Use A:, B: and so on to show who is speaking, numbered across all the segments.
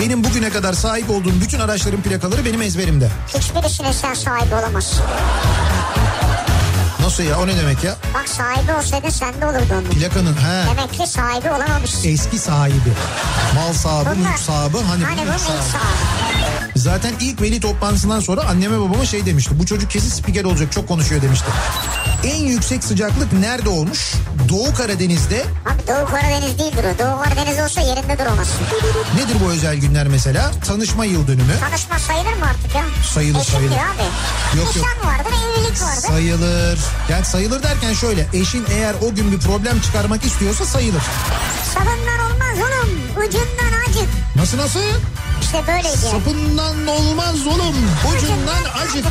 A: Benim bugüne kadar sahip olduğum bütün araçların plakaları benim ezberimde.
B: Hiçbirisine sen sahibi olamazsın.
A: Nasıl ya o ne demek ya?
B: Bak sahibi olsaydın sende olurdu onun.
A: Plakanın he
B: Demek ki sahibi olamamışsın.
A: eski sahibi. Mal sahibi,
B: Bunlar-
A: mülk sahibi E, hani,
B: hani
A: bunun
B: bunun ilk
A: sahibi.
B: sahibi.
A: Zaten ilk veli toplantısından sonra anneme babama şey demişti. Bu çocuk kesin spiker olacak çok konuşuyor demişti. En yüksek sıcaklık nerede olmuş? Doğu Karadeniz'de
B: Abi Doğu Karadeniz değildir o. Doğu Karadeniz olsa yerinde duramaz.
A: nedir bu özel günler mesela? Tanışma yıl dönümü.
B: Tanışma sayılır mı artık ya?
A: Sayılır,
B: Eşim
A: sayılır.
B: diyor abi.
A: Yok, yok.
B: Nişan vardır, evlilik vardır.
A: Sayılır. Yani sayılır derken şöyle eşin eğer o gün bir problem çıkarmak istiyorsa sayılır.
B: Sabından olmaz oğlum. Ucundan acık.
A: Nasıl nasıl?
B: İşte böyleydi. yani.
A: Sapından olmaz oğlum. Ucundan acık.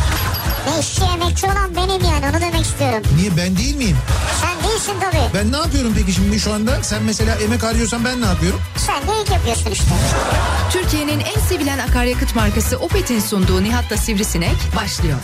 B: Ne işçi emekçi olan benim yani onu demek istiyorum.
A: Niye ben değil miyim?
B: Sen değilsin tabii.
A: Ben ne yapıyorum peki şimdi şu anda? Sen mesela emek harcıyorsan ben ne yapıyorum?
B: Sen de ilk yapıyorsun işte.
C: Türkiye'nin en sevilen akaryakıt markası Opet'in sunduğu Nihat'la Sivrisinek başlıyor.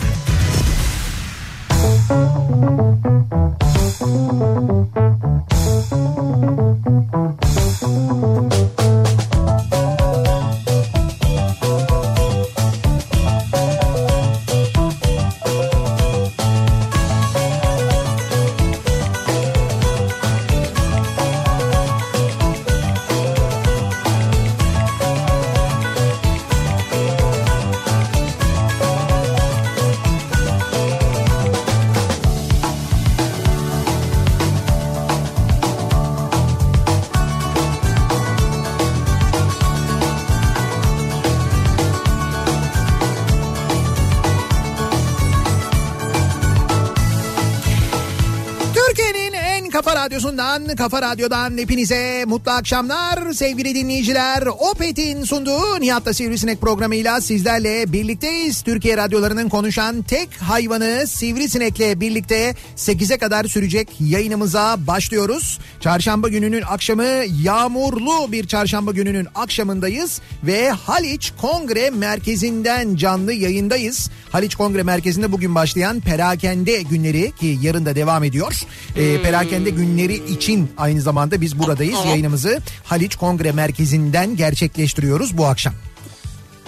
A: Türkiye'nin en kafa radyosundan, kafa radyodan hepinize mutlu akşamlar sevgili dinleyiciler. Opet'in sunduğu Nihat'la Sivrisinek programıyla sizlerle birlikteyiz. Türkiye radyolarının konuşan tek hayvanı Sivrisinek'le birlikte 8'e kadar sürecek yayınımıza başlıyoruz. Çarşamba gününün akşamı yağmurlu bir çarşamba gününün akşamındayız ve Haliç Kongre Merkezi'nden canlı yayındayız. Haliç Kongre Merkezi'nde bugün başlayan perakende günleri ki yarın da devam ediyor. Ee, perakende günleri için aynı zamanda biz buradayız.
B: Hmm. Evet.
A: Yayınımızı Haliç Kongre Merkezi'nden gerçekleştiriyoruz bu akşam.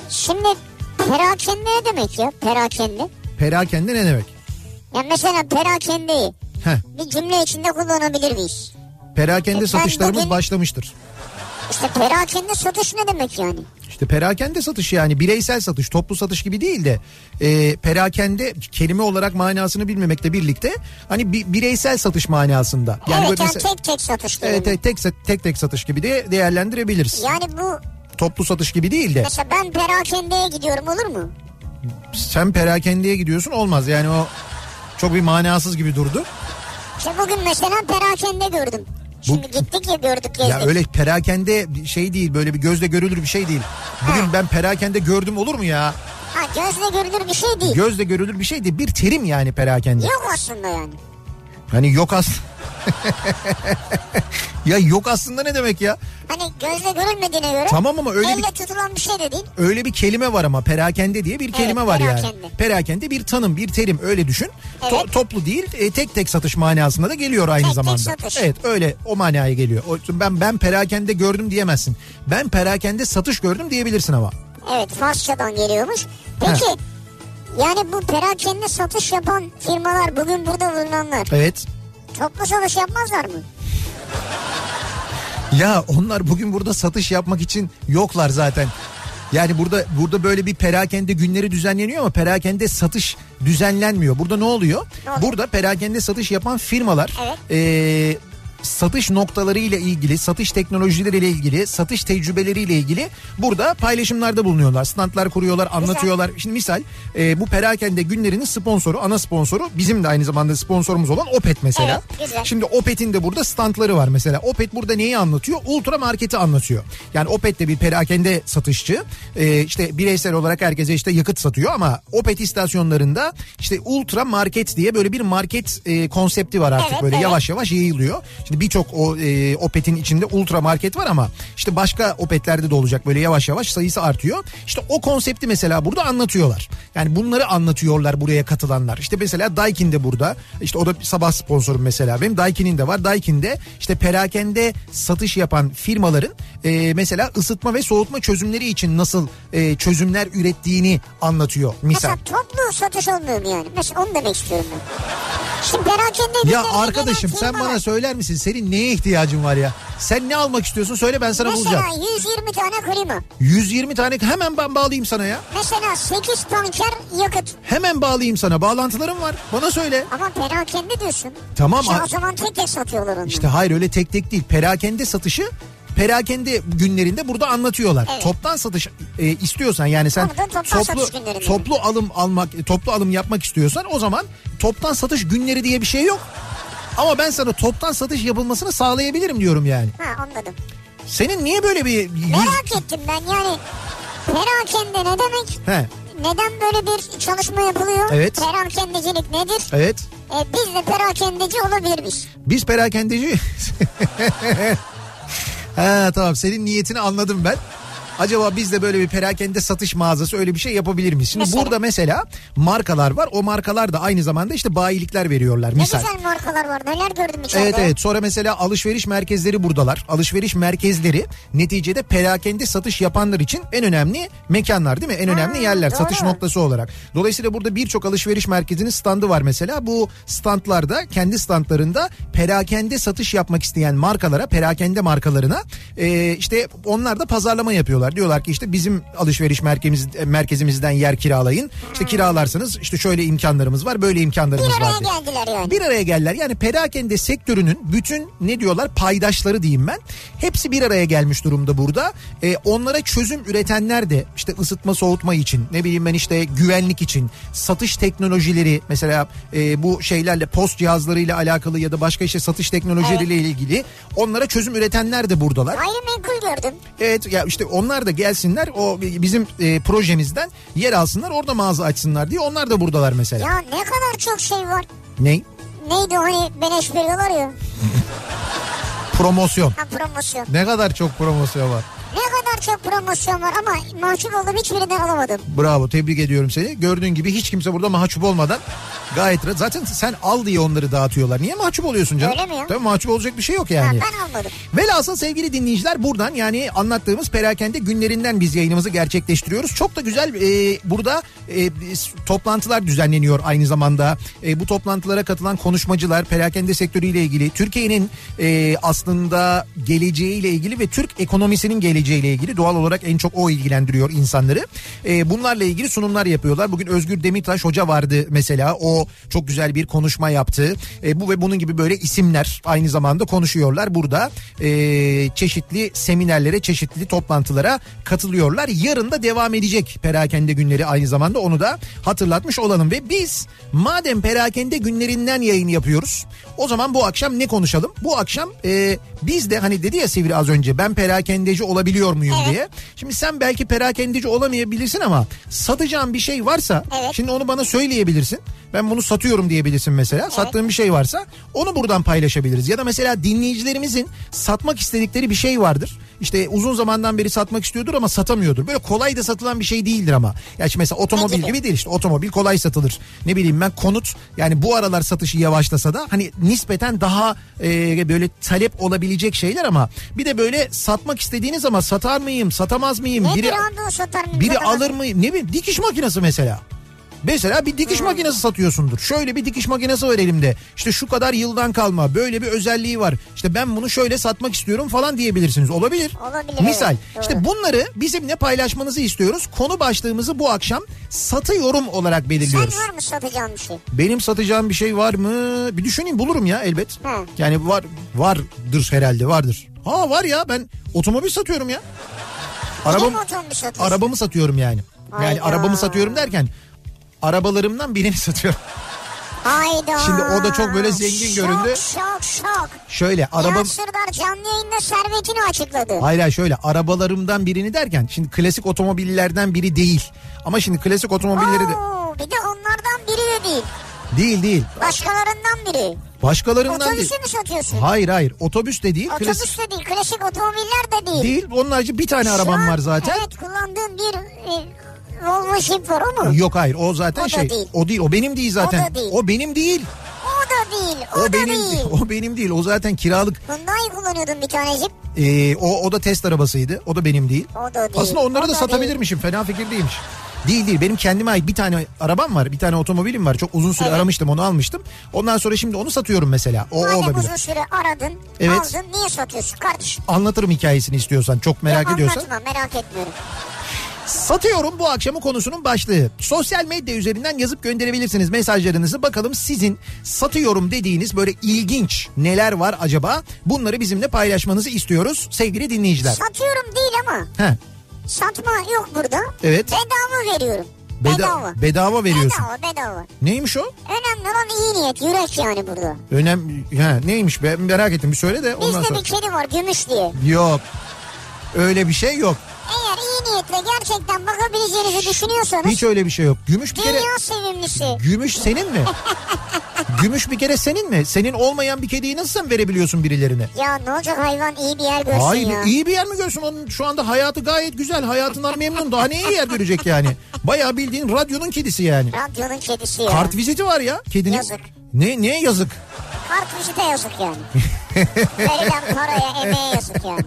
B: Şimdi perakende ne demek ya? Perakende.
A: Perakende ne demek?
B: Ya mesela perakendeyi
A: Heh,
B: bir cümle içinde kullanabilir miyiz?
A: perakende
B: E, Ben
A: satışlarımız
B: bugün-
A: başlamıştır.
B: İşte perakende satış ne demek yani?
A: İşte perakende satışı yani bireysel satış toplu satış gibi değil de e, perakende kelime olarak manasını bilmemekle birlikte hani bi- bireysel satış manasında. Yani
B: evet
A: böyle
B: yani
A: mesela-
B: tek tek satış diyelim.
A: evet, evet, tek, sa- tek tek satış gibi de değerlendirebiliriz.
B: Yani bu
A: Toplu satış gibi değil de
B: mesela ben perakendeye gidiyorum olur mu?
A: sen perakendeye gidiyorsun olmaz yani o çok bir manasız gibi durdu.
B: İşte bugün mesela perakende gördüm. Şimdi gittik ya gördük gezdik.
A: Ya öyle perakende bir şey değil böyle bir gözle görülür bir şey değil. Bugün ben perakende gördüm olur mu ya?
B: Ha gözle görülür bir şey değil.
A: Gözle görülür bir şey değil bir terim yani perakende.
B: Yok aslında yani.
A: Hani yok as. ya yok aslında ne demek ya?
B: Hani gözle görülmediğine göre
A: Tamam ama öyle bir
B: elle tutulan bir şey de değil.
A: öyle bir kelime var ama perakende diye bir kelime var yani.
B: perakende.
A: Perakende bir tanım, bir terim öyle düşün. To-
B: Evet.
A: toplu değil, e, tek tek satış manasında da geliyor aynı
B: Tek tek
A: zamanda.
B: satış.
A: Evet, öyle o manaya geliyor. O, ben ben perakende gördüm diyemezsin. Ben perakende satış gördüm diyebilirsin ama.
B: Evet Farsçadan geliyormuş. Peki yani bu perakende satış yapan firmalar bugün burada bulunanlar
A: Evet.
B: toplu satış yapmazlar mı?
A: Ya onlar bugün burada satış yapmak için yoklar zaten. Yani burada burada böyle bir perakende günleri düzenleniyor ama perakende satış düzenlenmiyor. Burada ne oluyor?
B: Ne oluyor?
A: Burada perakende satış yapan firmalar eee, satış noktaları ile ilgili, satış teknolojileri ile ilgili, satış tecrübeleri ile ilgili burada paylaşımlarda bulunuyorlar. Standlar kuruyorlar, anlatıyorlar. Şimdi misal eee, bu perakende günlerinin sponsoru, ana sponsoru bizim de aynı zamanda sponsorumuz olan Opet mesela.
B: Evet, güzel.
A: Şimdi Opet'in de burada standları var mesela. Opet burada neyi anlatıyor? Ultra marketi anlatıyor. Yani Opet de bir perakende satışçı. Ee, işte bireysel olarak herkese işte yakıt satıyor ama Opet istasyonlarında işte ultra market diye böyle bir market e, konsepti var artık
B: Evet,
A: böyle
B: evet.
A: yavaş yavaş yayılıyor. Şimdi işte birçok o e, Opet'in içinde ultra market var ama işte başka Opet'lerde de olacak böyle yavaş yavaş sayısı artıyor. İşte o konsepti mesela burada anlatıyorlar. Yani bunları anlatıyorlar buraya katılanlar. İşte mesela Daikin de burada. İşte o da sabah sponsorum mesela benim. Daikin'in de var. Daikin'de işte perakende satış yapan firmaların e, mesela ısıtma ve soğutma çözümleri için nasıl e, çözümler ürettiğini anlatıyor misal.
B: Mesela toplu satış olmuyor mu yani? Mesela onu demek istiyorum ben. Şimdi perakende
A: Ya arkadaşım sen bana söyler misin senin neye ihtiyacın var ya? Sen ne almak istiyorsun söyle ben sana bulacağım.
B: Mesela 120 tane klima.
A: 120 tane hemen ben bağlayayım sana ya.
B: Mesela 8 tanker yakıt.
A: Hemen bağlayayım sana. Bağlantılarım var. Bana söyle.
B: Ama perakende diyorsun.
A: Tamam,
B: İşte
A: a-
B: o zaman tek tek satıyorlar onu.
A: İşte hayır öyle tek tek değil. Perakende satışı perakende günlerinde burada anlatıyorlar.
B: Evet.
A: Toptan satış e, istiyorsan yani sen
B: Pardon, toptan satış günleri mi?
A: toplu alım almak e, toplu alım yapmak istiyorsan o zaman toptan satış günleri diye bir şey yok. Ama ben sana toptan satış yapılmasını sağlayabilirim diyorum yani.
B: Ha anladım.
A: Senin niye böyle bir yüz-
B: Merak ettim ben yani. Perakende ne demek?
A: He.
B: Neden böyle bir çalışma yapılıyor?
A: Evet.
B: Perakendecilik nedir?
A: Evet.
B: E, biz de perakendeci olabiliriz.
A: Biz perakendeci. ha tamam senin niyetini anladım ben. Acaba biz de böyle bir perakende satış mağazası öyle bir şey yapabilir miyiz? Şimdi
B: Mesela?
A: burada mesela markalar var. O markalar da aynı zamanda işte bayilikler veriyorlar
B: Ne
A: misal.
B: güzel markalar var. Neler gördüm içeride.
A: Evet evet sonra mesela alışveriş merkezleri buradalar. Alışveriş merkezleri neticede perakende satış yapanlar için en önemli mekanlar değil mi? En önemli
B: Ha,
A: yerler satış
B: doğru.
A: noktası olarak. Dolayısıyla burada birçok alışveriş merkezinin standı var mesela. Bu standlarda kendi standlarında perakende satış yapmak isteyen markalara perakende markalarına e, işte onlar da pazarlama yapıyorlar. Diyorlar ki işte bizim alışveriş merkezimiz, merkezimizden yer kiralayın. İşte kiralarsanız işte şöyle imkanlarımız var böyle
B: Bir
A: imkanlarımız var.
B: araya
A: diye.
B: geldiler yani.
A: Bir araya geldiler. Yani perakende sektörünün bütün ne diyorlar paydaşları diyeyim ben. Hepsi bir araya gelmiş durumda burada. E, onlara çözüm üretenler de işte ısıtma soğutma için ne bileyim ben işte güvenlik için satış teknolojileri mesela e, bu şeylerle post cihazlarıyla alakalı ya da başka işte satış teknolojileriyle ilgili onlara çözüm üretenler de buradalar.
B: Gayrimenkul gördüm.
A: Evet ya işte onlar da gelsinler o bizim e, projemizden yer alsınlar orada mağaza açsınlar diye onlar da buradalar mesela.
B: Ya ne kadar çok şey var.
A: Ney?
B: Neydi o hani beleş veriyorlar ya.
A: Promosyon.
B: Ha promosyon.
A: Ne kadar çok promosyon var.
B: Ne kadar çok promosyon var ama mahcup oldum hiçbirinden alamadım.
A: Bravo tebrik ediyorum seni. Gördüğün gibi hiç kimse burada mahcup olmadan gayet rahat. Zaten sen al diye onları dağıtıyorlar. Niye mahcup oluyorsun canım?
B: Öyle mi ya?
A: Tabii mahcup olacak bir şey yok
B: Ha,
A: yani.
B: ben almadım.
A: Velhasıl sevgili dinleyiciler buradan yani anlattığımız perakende günlerinden biz yayınımızı gerçekleştiriyoruz. Çok da güzel e, burada e, biz- toplantılar düzenleniyor aynı zamanda. E, bu toplantılara katılan konuşmacılar perakende sektörüyle ilgili Türkiye'nin e, aslında geleceğiyle ilgili ve Türk ekonomisinin geleceğiyle ilgili doğal olarak en çok o ilgilendiriyor insanları. E, bunlarla ilgili sunumlar yapıyorlar. Bugün Özgür Demirtaş hoca vardı mesela o çok güzel bir konuşma yaptı. E, bu ve bunun gibi böyle isimler aynı zamanda konuşuyorlar burada. E, çeşitli seminerlere, çeşitli toplantılara katılıyorlar. Yarın da devam edecek perakende günleri aynı zamanda onu da hatırlatmış olalım. Ve biz madem perakende günlerinden yayın yapıyoruz o zaman bu akşam ne konuşalım? Bu akşam e, biz de hani dedi ya Sivri az önce ben perakendeci olabiliyor muyum
B: Evet.
A: diye. Şimdi sen belki perakendeci olamayabilirsin ama satacağın bir şey varsa
B: Evet.
A: şimdi onu bana söyleyebilirsin. Ben bunu satıyorum diyebilirsin mesela. Sattığın bir şey varsa onu buradan paylaşabiliriz. Ya da mesela dinleyicilerimizin satmak istedikleri bir şey vardır. İşte uzun zamandan beri satmak istiyordur ama satamıyordur. Böyle kolay da satılan bir şey değildir ama. Ya şimdi mesela otomobil
B: gibi?
A: gibi değil işte otomobil kolay satılır. Ne bileyim ben konut yani bu aralar satışı yavaşlasa da hani nispeten daha e, böyle talep olabilecek şeyler ama bir de böyle satmak istediğiniz ama satar mıyım satamaz mıyım
B: Ne
A: biri
B: biri, aldı o satar mı?
A: biri
B: satamaz mı?
A: alır mı ne bileyim dikiş makinesi mesela. Mesela bir
B: Hmm.
A: dikiş makinesi satıyorsundur. Şöyle bir dikiş makinesi var elimde. İşte şu kadar yıldan kalma. Böyle bir özelliği var. İşte ben bunu şöyle satmak istiyorum falan diyebilirsiniz. Olabilir.
B: Olabilir,
A: Misal.
B: evet, doğru.
A: İşte bunları bizimle paylaşmanızı istiyoruz. Konu başlığımızı bu akşam satıyorum olarak belirliyoruz.
B: Sen var mı satacağın bir şey?
A: Benim satacağım bir şey var mı? Bir düşüneyim bulurum ya elbet.
B: Ha.
A: Yani var vardır herhalde vardır. Ha var ya ben otomobil satıyorum ya.
B: Arabam,
A: Arabam
B: mi otomobil satıyorsun?
A: arabamı satıyorum yani. Yani
B: Hayda.
A: arabamı satıyorum derken arabalarımdan birini satıyorum.
B: Hayda.
A: Şimdi o da çok böyle zengin
B: Şok,
A: göründü.
B: Şok şok.
A: Şöyle
B: Arabam...
A: arabam
B: canlı yayında servetini açıkladı.
A: Hayır hayır, şöyle arabalarımdan birini derken şimdi klasik otomobillerden biri değil. Ama şimdi klasik otomobilleri de
B: Oo, bir de onlardan biri de değil.
A: değil değil.
B: Başkalarından biri.
A: Başkalarından değil.
B: Otobüsü mü satıyorsun?
A: Hayır hayır otobüs de değil.
B: Otobüs
A: klasik
B: de değil, klasik otomobiller de değil.
A: değil. Onun harici bir tane
B: Şu
A: arabam
B: an,
A: var zaten.
B: Evet kullandığın bir e, Volvo Jeep var o mu?
A: Yok hayır o zaten
B: O da
A: şey.
B: değil.
A: O değil. O benim değil zaten.
B: O da değil.
A: benim değil.
B: O da değil, o,
A: O,
B: da
A: benim
B: değil.
A: O benim değil. O zaten kiralık.
B: Bundan iyi kullanıyordun bir tane Jeep.
A: Ee, o o da test arabasıydı. O da benim değil.
B: O da değil.
A: Aslında onları
B: O
A: da,
B: da
A: satabilirmişim. Fena fikir değilmiş. Değil değil. Benim kendime ait bir tane arabam var. Bir tane otomobilim var. Çok uzun süre aramıştım onu almıştım. Ondan sonra şimdi onu satıyorum mesela. O, o
B: Madem
A: olabilir.
B: uzun süre aradın,
A: Evet.
B: aldın, niye satıyorsun kardeşim?
A: Anlatırım hikayesini istiyorsan. Çok merak
B: Ya
A: ediyorsan.
B: Anlatma merak etmiyorum.
A: Satıyorum bu akşamın konusunun başlığı. Sosyal medya üzerinden yazıp gönderebilirsiniz mesajlarınızı. Bakalım sizin satıyorum dediğiniz böyle ilginç neler var acaba? Bunları bizimle paylaşmanızı istiyoruz sevgili dinleyiciler.
B: Satıyorum değil ama
A: He,
B: satma yok burada.
A: Evet.
B: Bedava veriyorum.
A: beda-
B: bedava.
A: bedava veriyorsun.
B: Bedava bedava.
A: Neymiş o?
B: Önemli olan iyi niyet, yürek yani burada.
A: Önem he, neymiş be merak ettim bir söyle de ondan
B: Bizde
A: sonra.
B: bir kedi var gümüş diye.
A: Yok. Öyle bir şey yok.
B: Eğer iyi niyetle gerçekten bakabileceğinizi düşünüyorsanız
A: Hiç öyle bir şey yok. Gümüş bir kere
B: dünya sevimlisi.
A: Gümüş senin mi? Gümüş bir kere senin mi? Senin olmayan bir kediyi nasıl sen verebiliyorsun birilerine?
B: Ya ne olacak hayvan iyi bir yer görsün
A: Hayır
B: ya.
A: iyi bir yer mi görsün onun şu anda hayatı gayet güzel hayatından memnun daha ne iyi yer görecek yani. Bayağı bildiğin radyonun kedisi yani.
B: Radyonun kedisi ya.
A: Kart viziti var ya kedinin.
B: Yazık.
A: Ne, ne yazık?
B: Kart vizite yazık yani. Verilen paraya emeğe yazık yani.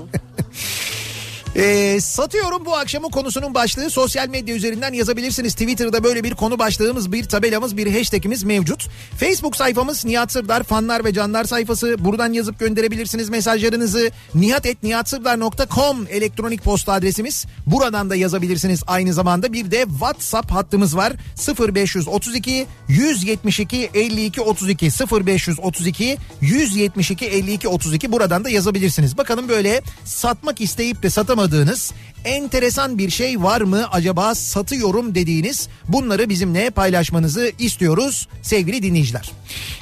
A: Ee, satıyorum bu akşamın konusunun başlığı sosyal medya üzerinden yazabilirsiniz. Twitter'da böyle bir konu başlığımız, bir tabelamız, bir hashtagimiz mevcut. Facebook sayfamız Nihat Sırdar fanlar ve canlar sayfası. Buradan yazıp gönderebilirsiniz mesajlarınızı. nihat.nihatsırdar.com elektronik posta adresimiz. Buradan da yazabilirsiniz aynı zamanda. Bir de WhatsApp hattımız var. 0532 172 52 32 0532 172 52 32 buradan da yazabilirsiniz. Bakalım böyle satmak isteyip de satamadığınız enteresan bir şey var mı acaba satıyorum dediğiniz bunları bizimle paylaşmanızı istiyoruz sevgili dinleyiciler.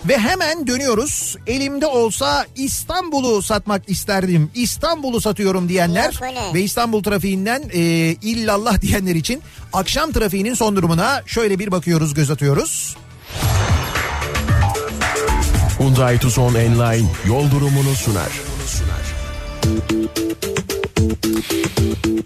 A: Ve hemen dönüyoruz. Elimde olsa İstanbul'u satmak isterdim. İstanbul'u satıyorum diyenler
B: Yok öyle.
A: ve İstanbul trafiğinden e, illallah diyenler için akşam trafiğinin son durumuna şöyle bir bakıyoruz göz atıyoruz.
D: Hyundai Tucson Enline yol durumunu sunar.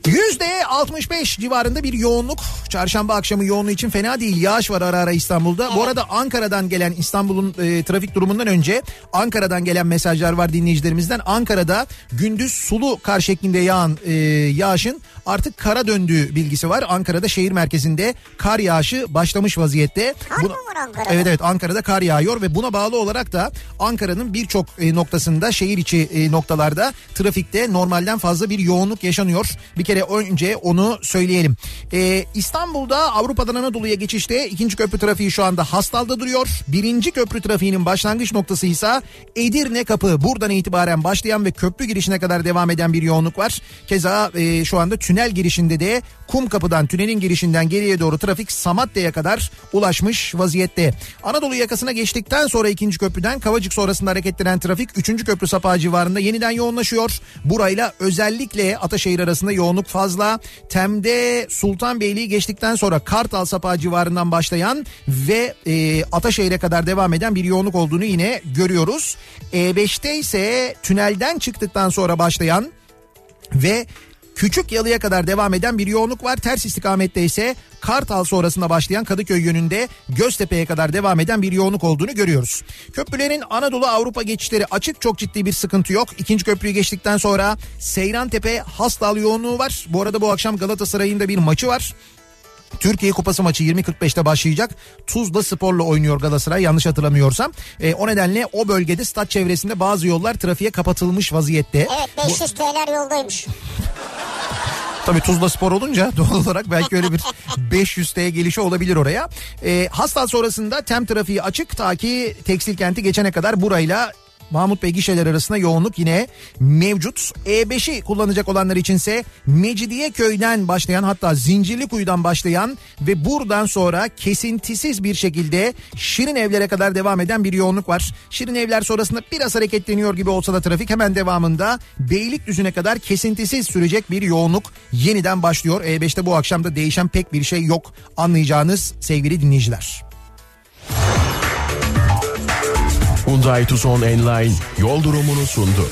A: Yüzde 65 civarında bir yoğunluk. Çarşamba akşamı yoğunluğu için fena değil. Yağış var ara ara İstanbul'da. Bu arada Ankara'dan gelen İstanbul'un e, trafik durumundan önce Ankara'dan gelen mesajlar var dinleyicilerimizden. Ankara'da gündüz sulu kar şeklinde yağan e, yağışın artık kara döndüğü bilgisi var. Ankara'da şehir merkezinde kar yağışı başlamış vaziyette.
B: Kar mı var Ankara'da?
A: Evet evet Ankara'da kar yağıyor ve buna bağlı olarak da Ankara'nın birçok e, noktasında şehir içi e, noktalarda trafikte normalden fazla bir yoğunluk yaşanıyor. Bir kere önce onu söyleyelim. E, İstanbul'da Avrupa'dan Anadolu'ya geçişte ikinci köprü trafiği şu anda Hastal'da duruyor. Birinci köprü trafiğinin başlangıç noktası ise Edirne Kapı. Buradan itibaren başlayan ve köprü girişine kadar devam eden bir yoğunluk var. Keza e, şu anda tünel girişinde de kum kapıdan tünelin girişinden geriye doğru trafik Samatya'ya kadar ulaşmış vaziyette. Anadolu yakasına geçtikten sonra ikinci köprüden Kavacık sonrasında hareketlenen trafik 3. köprü sapağı civarında yeniden yoğunlaşıyor. Burayla özellikle Ataşehir arasında yoğunluk fazla. Tem'de Sultanbeyli'yi geçtikten sonra Kartal sapağı civarından başlayan ve e, Ataşehir'e kadar devam eden bir yoğunluk olduğunu yine görüyoruz. E5'te ise tünelden çıktıktan sonra başlayan ve Küçük Yalı'ya kadar devam eden bir yoğunluk var. Ters istikamette ise Kartal sonrasında başlayan Kadıköy yönünde Göztepe'ye kadar devam eden bir yoğunluk olduğunu görüyoruz. Köprülerin Anadolu Avrupa geçişleri açık çok ciddi bir sıkıntı yok. İkinci köprüyü geçtikten sonra Seyrantepe Hastal yoğunluğu var. Bu arada bu akşam Galatasaray'ın da bir maçı var. Türkiye Kupası maçı 20.45'te başlayacak. Tuzla Spor'la oynuyor Galatasaray yanlış hatırlamıyorsam. E, o nedenle o bölgede stat çevresinde bazı yollar trafiğe kapatılmış vaziyette.
B: Evet 500 TL'ler yoldaymış.
A: Tabii Tuzla Spor olunca doğal olarak belki öyle bir 500T'ye gelişi olabilir oraya. Ee, hasta sonrasında tem trafiği açık ta ki tekstil kenti geçene kadar burayla Mahmut Bey gişeler arasında yoğunluk yine mevcut. E5'i kullanacak olanlar içinse Mecidiye köyden başlayan hatta Zincirlikuyu'dan başlayan ve buradan sonra kesintisiz bir şekilde Şirin evlere kadar devam eden bir yoğunluk var. Şirin evler sonrasında biraz hareketleniyor gibi olsa da trafik hemen devamında Beylikdüzü'ne kadar kesintisiz sürecek bir yoğunluk yeniden başlıyor. E5'te bu akşamda değişen pek bir şey yok anlayacağınız sevgili dinleyiciler.
D: Hyundai Tucson Enline yol durumunu sundu.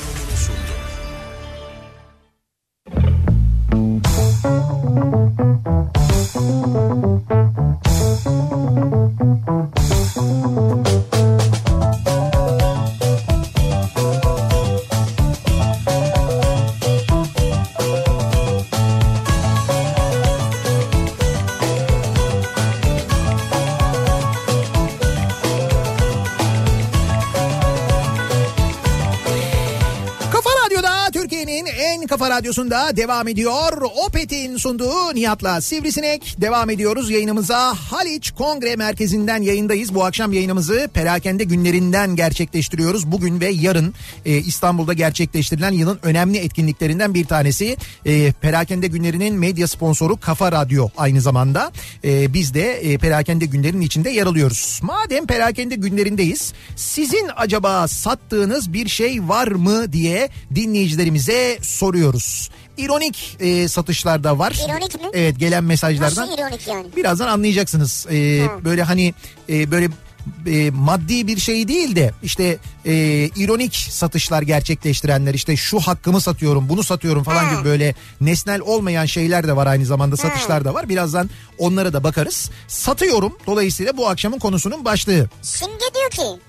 A: Kafa Radyo'da Türkiye'nin en kafa radyosunda devam ediyor. Opet'in sunduğu Nihat'la Sivrisinek. Devam ediyoruz yayınımıza. Haliç Kongre Merkezi'nden yayındayız. Bu akşam yayınımızı perakende günlerinden gerçekleştiriyoruz. Bugün ve yarın e, İstanbul'da gerçekleştirilen yılın önemli etkinliklerinden bir tanesi. E, perakende günlerinin medya sponsoru Kafa Radyo aynı zamanda. E, biz de e, perakende günlerinin içinde yer alıyoruz. Madem perakende günlerindeyiz. Sizin acaba sattığınız bir şey var mı diye dinleyicilerimize soruyoruz. İronik e, satışlar da var.
B: İronik mi?
A: Evet gelen mesajlardan.
B: Nasıl ironik yani?
A: Birazdan anlayacaksınız. Ee, böyle hani e, böyle e, maddi bir şey değil de işte e, ironik satışlar gerçekleştirenler işte şu hakkımı satıyorum bunu satıyorum falan
B: Ha.
A: gibi böyle nesnel olmayan şeyler de var aynı zamanda satışlar da var. Birazdan onlara da bakarız. Satıyorum dolayısıyla bu akşamın konusunun başlığı.
B: Simge diyor ki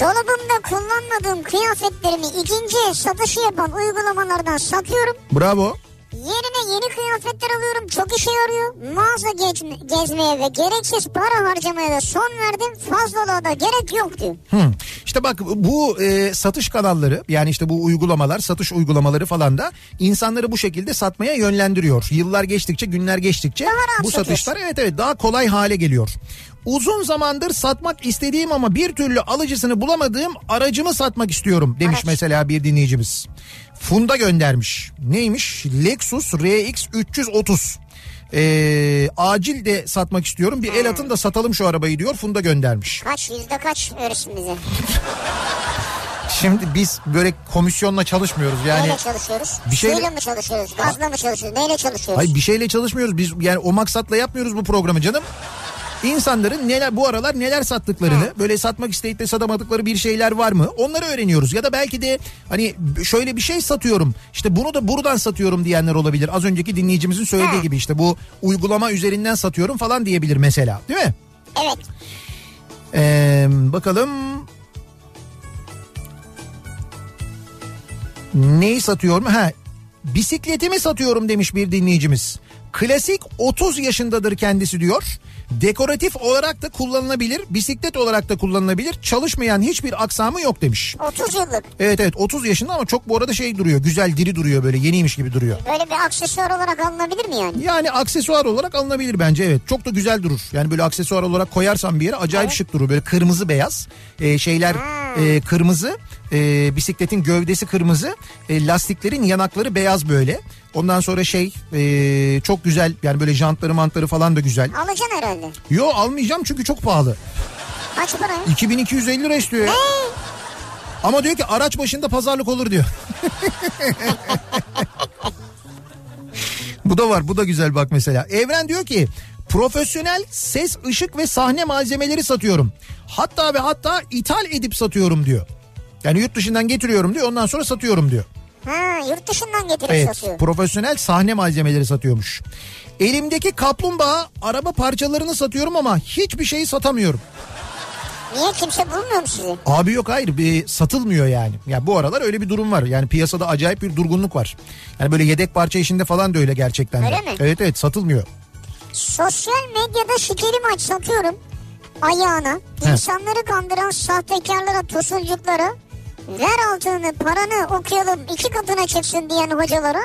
B: dolabımda kullanmadığım kıyafetlerimi ikinci el satışı yapan uygulamalardan satıyorum.
A: Bravo.
B: Yerine yeni kıyafetler alıyorum. Çok işe yarıyor. Mağaza gez- gezmeye ve gereksiz para harcamaya da son verdim. Fazlalığa da gerek yok diyor.
A: Hı. İşte bak bu e, satış kanalları yani işte bu uygulamalar satış uygulamaları falan da insanları bu şekilde satmaya yönlendiriyor. Yıllar geçtikçe günler geçtikçe
B: Daha rahat
A: bu
B: satıyorsun.
A: satışlar evet evet daha kolay hale geliyor. Uzun zamandır satmak istediğim ama bir türlü alıcısını bulamadığım aracımı satmak istiyorum demiş
B: Araç.
A: mesela bir dinleyicimiz. Funda göndermiş. Neymiş? Lexus RX 330. Ee, acil de satmak istiyorum.
B: Hmm.
A: Bir el atın da satalım şu arabayı diyor. Funda göndermiş.
B: Kaç yüzde kaç verirsin bize?
A: Şimdi biz böyle komisyonla çalışmıyoruz yani.
B: Neyle çalışıyoruz?
A: bir şey-
B: Suyla mı çalışıyoruz? Gazla mı çalışıyoruz? Neyle çalışıyoruz?
A: Hayır bir şeyle çalışmıyoruz biz yani o maksatla yapmıyoruz bu programı canım. İnsanların neler bu aralar neler sattıklarını böyle satmak isteyip de satamadıkları bir şeyler var mı onları öğreniyoruz. Ya da belki de hani şöyle bir şey satıyorum işte bunu da buradan satıyorum diyenler olabilir. Az önceki dinleyicimizin söylediği
B: Ha.
A: gibi işte bu uygulama üzerinden satıyorum falan diyebilir mesela değil mi?
B: Evet.
A: Ee, bakalım. Neyi satıyorum? Ha, bisikletimi satıyorum demiş bir dinleyicimiz. Klasik 30 yaşındadır kendisi diyor. Dekoratif olarak da kullanılabilir, bisiklet olarak da kullanılabilir. Çalışmayan hiçbir aksamı yok demiş.
B: 30 yıllık.
A: Evet evet 30 yaşında ama çok bu arada şey duruyor. Güzel diri duruyor böyle yeniymiş gibi duruyor.
B: Böyle bir aksesuar olarak alınabilir mi yani?
A: Yani aksesuar olarak alınabilir bence evet. Çok da güzel durur. Yani böyle aksesuar olarak koyarsan bir yere acayip şık durur. Böyle kırmızı beyaz e, şeyler e, kırmızı e, bisikletin gövdesi kırmızı e, lastiklerin yanakları beyaz böyle. Ondan sonra şey e, çok güzel yani böyle jantları mantları falan da güzel.
B: Alacaksın herhalde.
A: Yo almayacağım çünkü çok pahalı.
B: Kaç para?
A: 2250 lira istiyor ya. Ama diyor ki araç başında pazarlık olur diyor. bu da var bu da güzel bak mesela. Evren diyor ki profesyonel ses, ışık ve sahne malzemeleri satıyorum. Hatta ve hatta ithal edip satıyorum diyor. Yani yurt dışından getiriyorum diyor ondan sonra satıyorum diyor.
B: Ha yurt dışından getirip
A: Evet
B: satıyor.
A: profesyonel sahne malzemeleri satıyormuş. Elimdeki kaplumbağa araba parçalarını satıyorum ama hiçbir şeyi satamıyorum.
B: Niye kimse bulmuyor mu sizi?
A: Abi yok hayır bir satılmıyor yani. Ya bu aralar öyle bir durum var. Yani piyasada acayip bir durgunluk var. Yani böyle yedek parça işinde falan da öyle gerçekten. de.
B: Öyle mi?
A: Evet evet satılmıyor.
B: Sosyal medyada şikeri maç satıyorum ayağına. İnsanları kandıran sahtekarlara, tosuncuklara. Ver altını, paranı okuyalım iki katına çıksın diyen hocalara.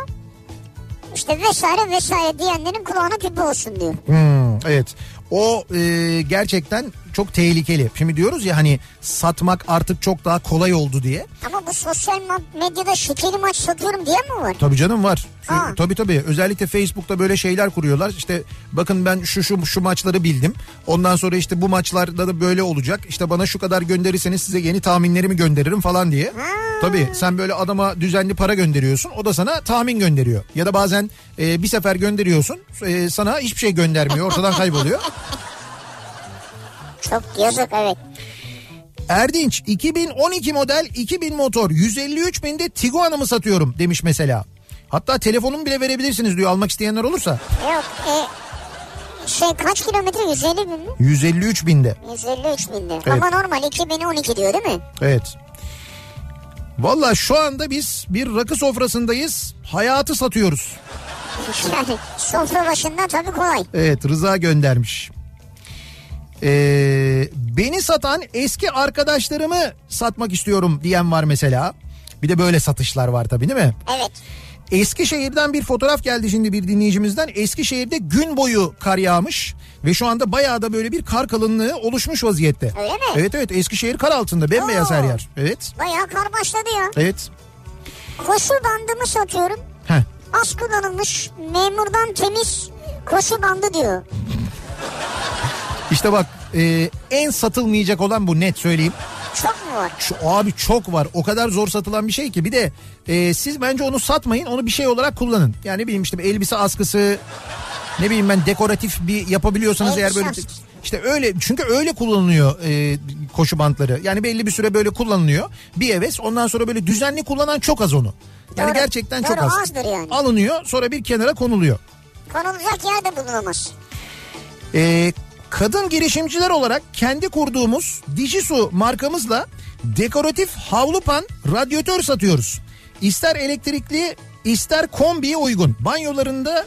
B: işte vesaire vesaire diyenlerin kulağına küpe olsun diyor.
A: Hmm, evet. O e, gerçekten çok tehlikeli. Şimdi diyoruz ya hani satmak artık çok daha kolay oldu diye.
B: Ama bu sosyal ma- medyada şikeri maç satıyorum diye mi var?
A: Tabii canım var.
B: Ha.
A: Ee, Tabii tabii. Özellikle Facebook'ta böyle şeyler kuruyorlar. İşte bakın ben şu şu şu maçları bildim. Ondan sonra işte bu maçlarda da böyle olacak. İşte bana şu kadar gönderirseniz size yeni tahminlerimi gönderirim falan diye. Tabii sen böyle adama düzenli para gönderiyorsun. O da sana tahmin gönderiyor. Ya da bazen e, bir sefer gönderiyorsun. e, sana hiçbir şey göndermiyor. Ortadan kayboluyor.
B: Çok yazık evet.
A: Erdinç 2012 model 2000 motor 153 binde Tiguan'ımı satıyorum demiş mesela. Hatta telefonumu bile verebilirsiniz diyor almak isteyenler olursa.
B: Yok e, şey kaç kilometre 150 bin mi?
A: 153 binde.
B: 153 bindi.
A: Evet.
B: Ama normal 2012 diyor değil mi?
A: Evet. Valla şu anda biz bir rakı sofrasındayız. Hayatı satıyoruz.
B: Yani sofra başında tabii kolay.
A: Evet Rıza göndermiş. Ee, beni satan eski arkadaşlarımı satmak istiyorum diyen var mesela. Bir de böyle satışlar var tabii değil mi?
B: Evet.
A: Eskişehir'den bir fotoğraf geldi şimdi bir dinleyicimizden. Eskişehir'de gün boyu kar yağmış ve şu anda bayağı da böyle bir kar kalınlığı oluşmuş vaziyette.
B: Öyle mi?
A: Evet evet Eskişehir kar altında bembeyaz
B: Oo.
A: her yer. Evet.
B: Bayağı kar başladı ya.
A: Evet.
B: Koşu bandımı satıyorum.
A: Heh.
B: Az kullanılmış memurdan temiz koşu bandı diyor.
A: İşte bak e, en satılmayacak olan bu net söyleyeyim.
B: Çok mu var?
A: Şu abi çok var. O kadar zor satılan bir şey ki. Bir de e, siz bence onu satmayın. Onu bir şey olarak kullanın. Yani ne bileyim işte bir elbise askısı ne bileyim ben dekoratif bir yapabiliyorsanız
B: Elbise
A: eğer böyle
B: askısı.
A: işte öyle çünkü öyle kullanılıyor e, koşu bantları. Yani belli bir süre böyle kullanılıyor. Bir heves ondan sonra böyle düzenli kullanan çok az onu. Yani
B: Doğru.
A: gerçekten çok
B: Doğru,
A: az.
B: azdır yani.
A: Alınıyor sonra bir kenara konuluyor.
B: Konulacak yerde bulunamaz.
A: Ee, kadın girişimciler olarak kendi kurduğumuz Dijisu markamızla dekoratif havlupan radyatör satıyoruz. İster elektrikli ister kombiye uygun. Banyolarında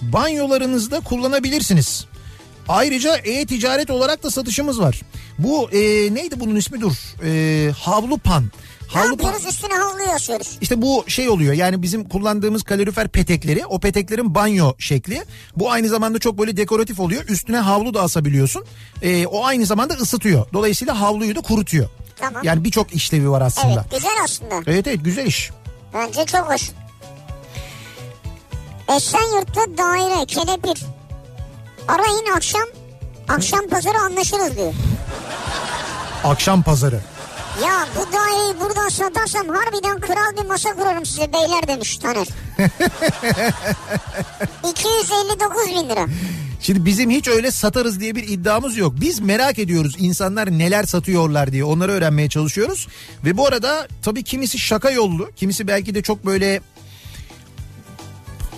A: banyolarınızda kullanabilirsiniz. Ayrıca e-ticaret olarak da satışımız var. Bu e, neydi bunun ismi dur? E, havlupan.
B: Ne
A: Havlupan.
B: yapıyoruz üstüne havlu yazıyoruz.
A: İşte bu şey oluyor yani bizim kullandığımız kalorifer petekleri o peteklerin banyo şekli. Bu aynı zamanda çok böyle dekoratif oluyor üstüne havlu da asabiliyorsun. Ee, o aynı zamanda ısıtıyor dolayısıyla havluyu da kurutuyor.
B: Tamam.
A: Yani birçok işlevi var aslında.
B: Evet güzel aslında.
A: Evet evet güzel iş.
B: Bence çok hoş. Esenyurt'ta daire kelepir. Arayın akşam akşam pazarı anlaşırız diyor.
A: Akşam pazarı.
B: Ya bu daireyi buradan satarsam harbiden kral bir masa kurarım size beyler demiş Taner. 259 bin lira.
A: Şimdi bizim hiç öyle satarız diye bir iddiamız yok. Biz merak ediyoruz insanlar neler satıyorlar diye onları öğrenmeye çalışıyoruz. Ve bu arada tabii kimisi şaka yollu, kimisi belki de çok böyle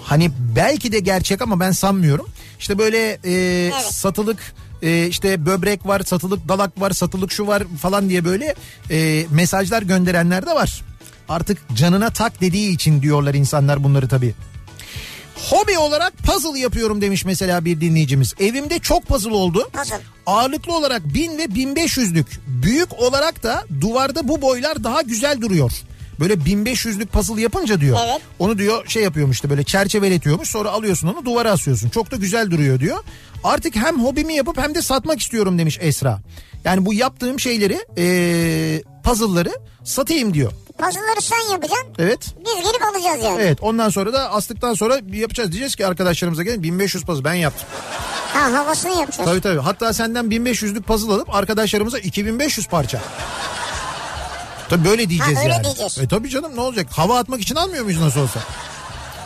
A: hani belki de gerçek ama ben sanmıyorum. İşte böyle e, satılık e, işte böbrek var, satılık dalak var, satılık şu var falan diye böyle e, mesajlar gönderenler de var. Artık canına tak dediği için diyorlar insanlar bunları tabii. Hobi olarak puzzle yapıyorum demiş mesela bir dinleyicimiz. Evimde çok puzzle oldu.
B: Puzzle.
A: Ağırlıklı olarak 1000 ve 1500'lük. Büyük olarak da duvarda bu boylar daha güzel duruyor. Böyle 1500'lük puzzle yapınca diyor.
B: Evet.
A: Onu diyor şey yapıyormuş işte böyle çerçeveletiyormuş. Sonra alıyorsun onu duvara asıyorsun. Çok da güzel duruyor diyor. Artık hem hobimi yapıp hem de satmak istiyorum demiş Esra. Yani bu yaptığım şeyleri ee, puzzle'ları satayım diyor.
B: Puzzle'ları sen yapacaksın.
A: Evet.
B: Biz gelip alacağız yani.
A: Evet ondan sonra da astıktan sonra yapacağız. Diyeceğiz ki arkadaşlarımıza gelin 1500 puzzle ben yaptım.
B: Ha havasını yapacağız.
A: Tabii tabii. Hatta senden 1500'lük puzzle alıp arkadaşlarımıza 2500 parça. Tabii böyle diyeceğiz
B: Ha, öyle
A: yani.
B: diyeceğiz.
A: E tabii canım ne olacak? Hava atmak için almıyor muyuz nasıl olsa?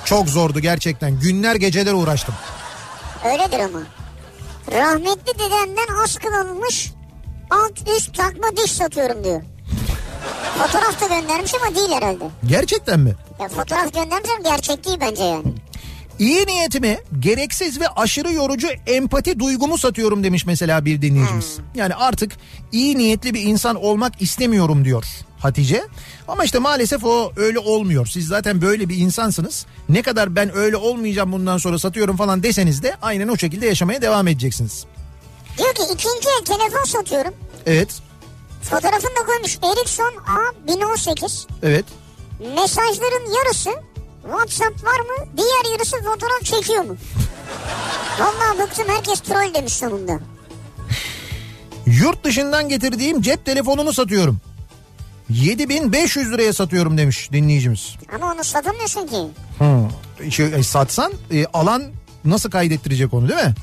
A: Çok zordu gerçekten. Günler geceler uğraştım.
B: Öyledir ama. Rahmetli dedemden az kullanılmış alt üst takma diş satıyorum diyor. Fotoğraf da göndermiş ama değil herhalde.
A: Gerçekten mi?
B: Ya fotoğraf göndermiş ama gerçek değil bence yani.
A: İyi niyetimi, gereksiz ve aşırı yorucu empati duygumu satıyorum demiş mesela bir dinleyicimiz. Yani artık iyi niyetli bir insan olmak istemiyorum diyor Hatice. Ama işte maalesef o öyle olmuyor. Siz zaten böyle bir insansınız. Ne kadar ben öyle olmayacağım bundan sonra satıyorum falan deseniz de aynen o şekilde yaşamaya devam edeceksiniz.
B: Diyor ki ikinci el telefon satıyorum.
A: Evet,
B: Fotoğrafını da koymuş Ericsson A1018.
A: evet.
B: Mesajların yarısı WhatsApp var mı? Diğer yarısı fotoğraf çekiyor mu? Vallahi bıktım herkes troll demiş sonunda.
A: Yurt dışından getirdiğim cep telefonumu satıyorum. 7500 liraya satıyorum demiş dinleyicimiz.
B: Ama onu satamıyorsun ki.
A: Hı. Şey, e, satsan e, alan nasıl kaydettirecek onu değil mi?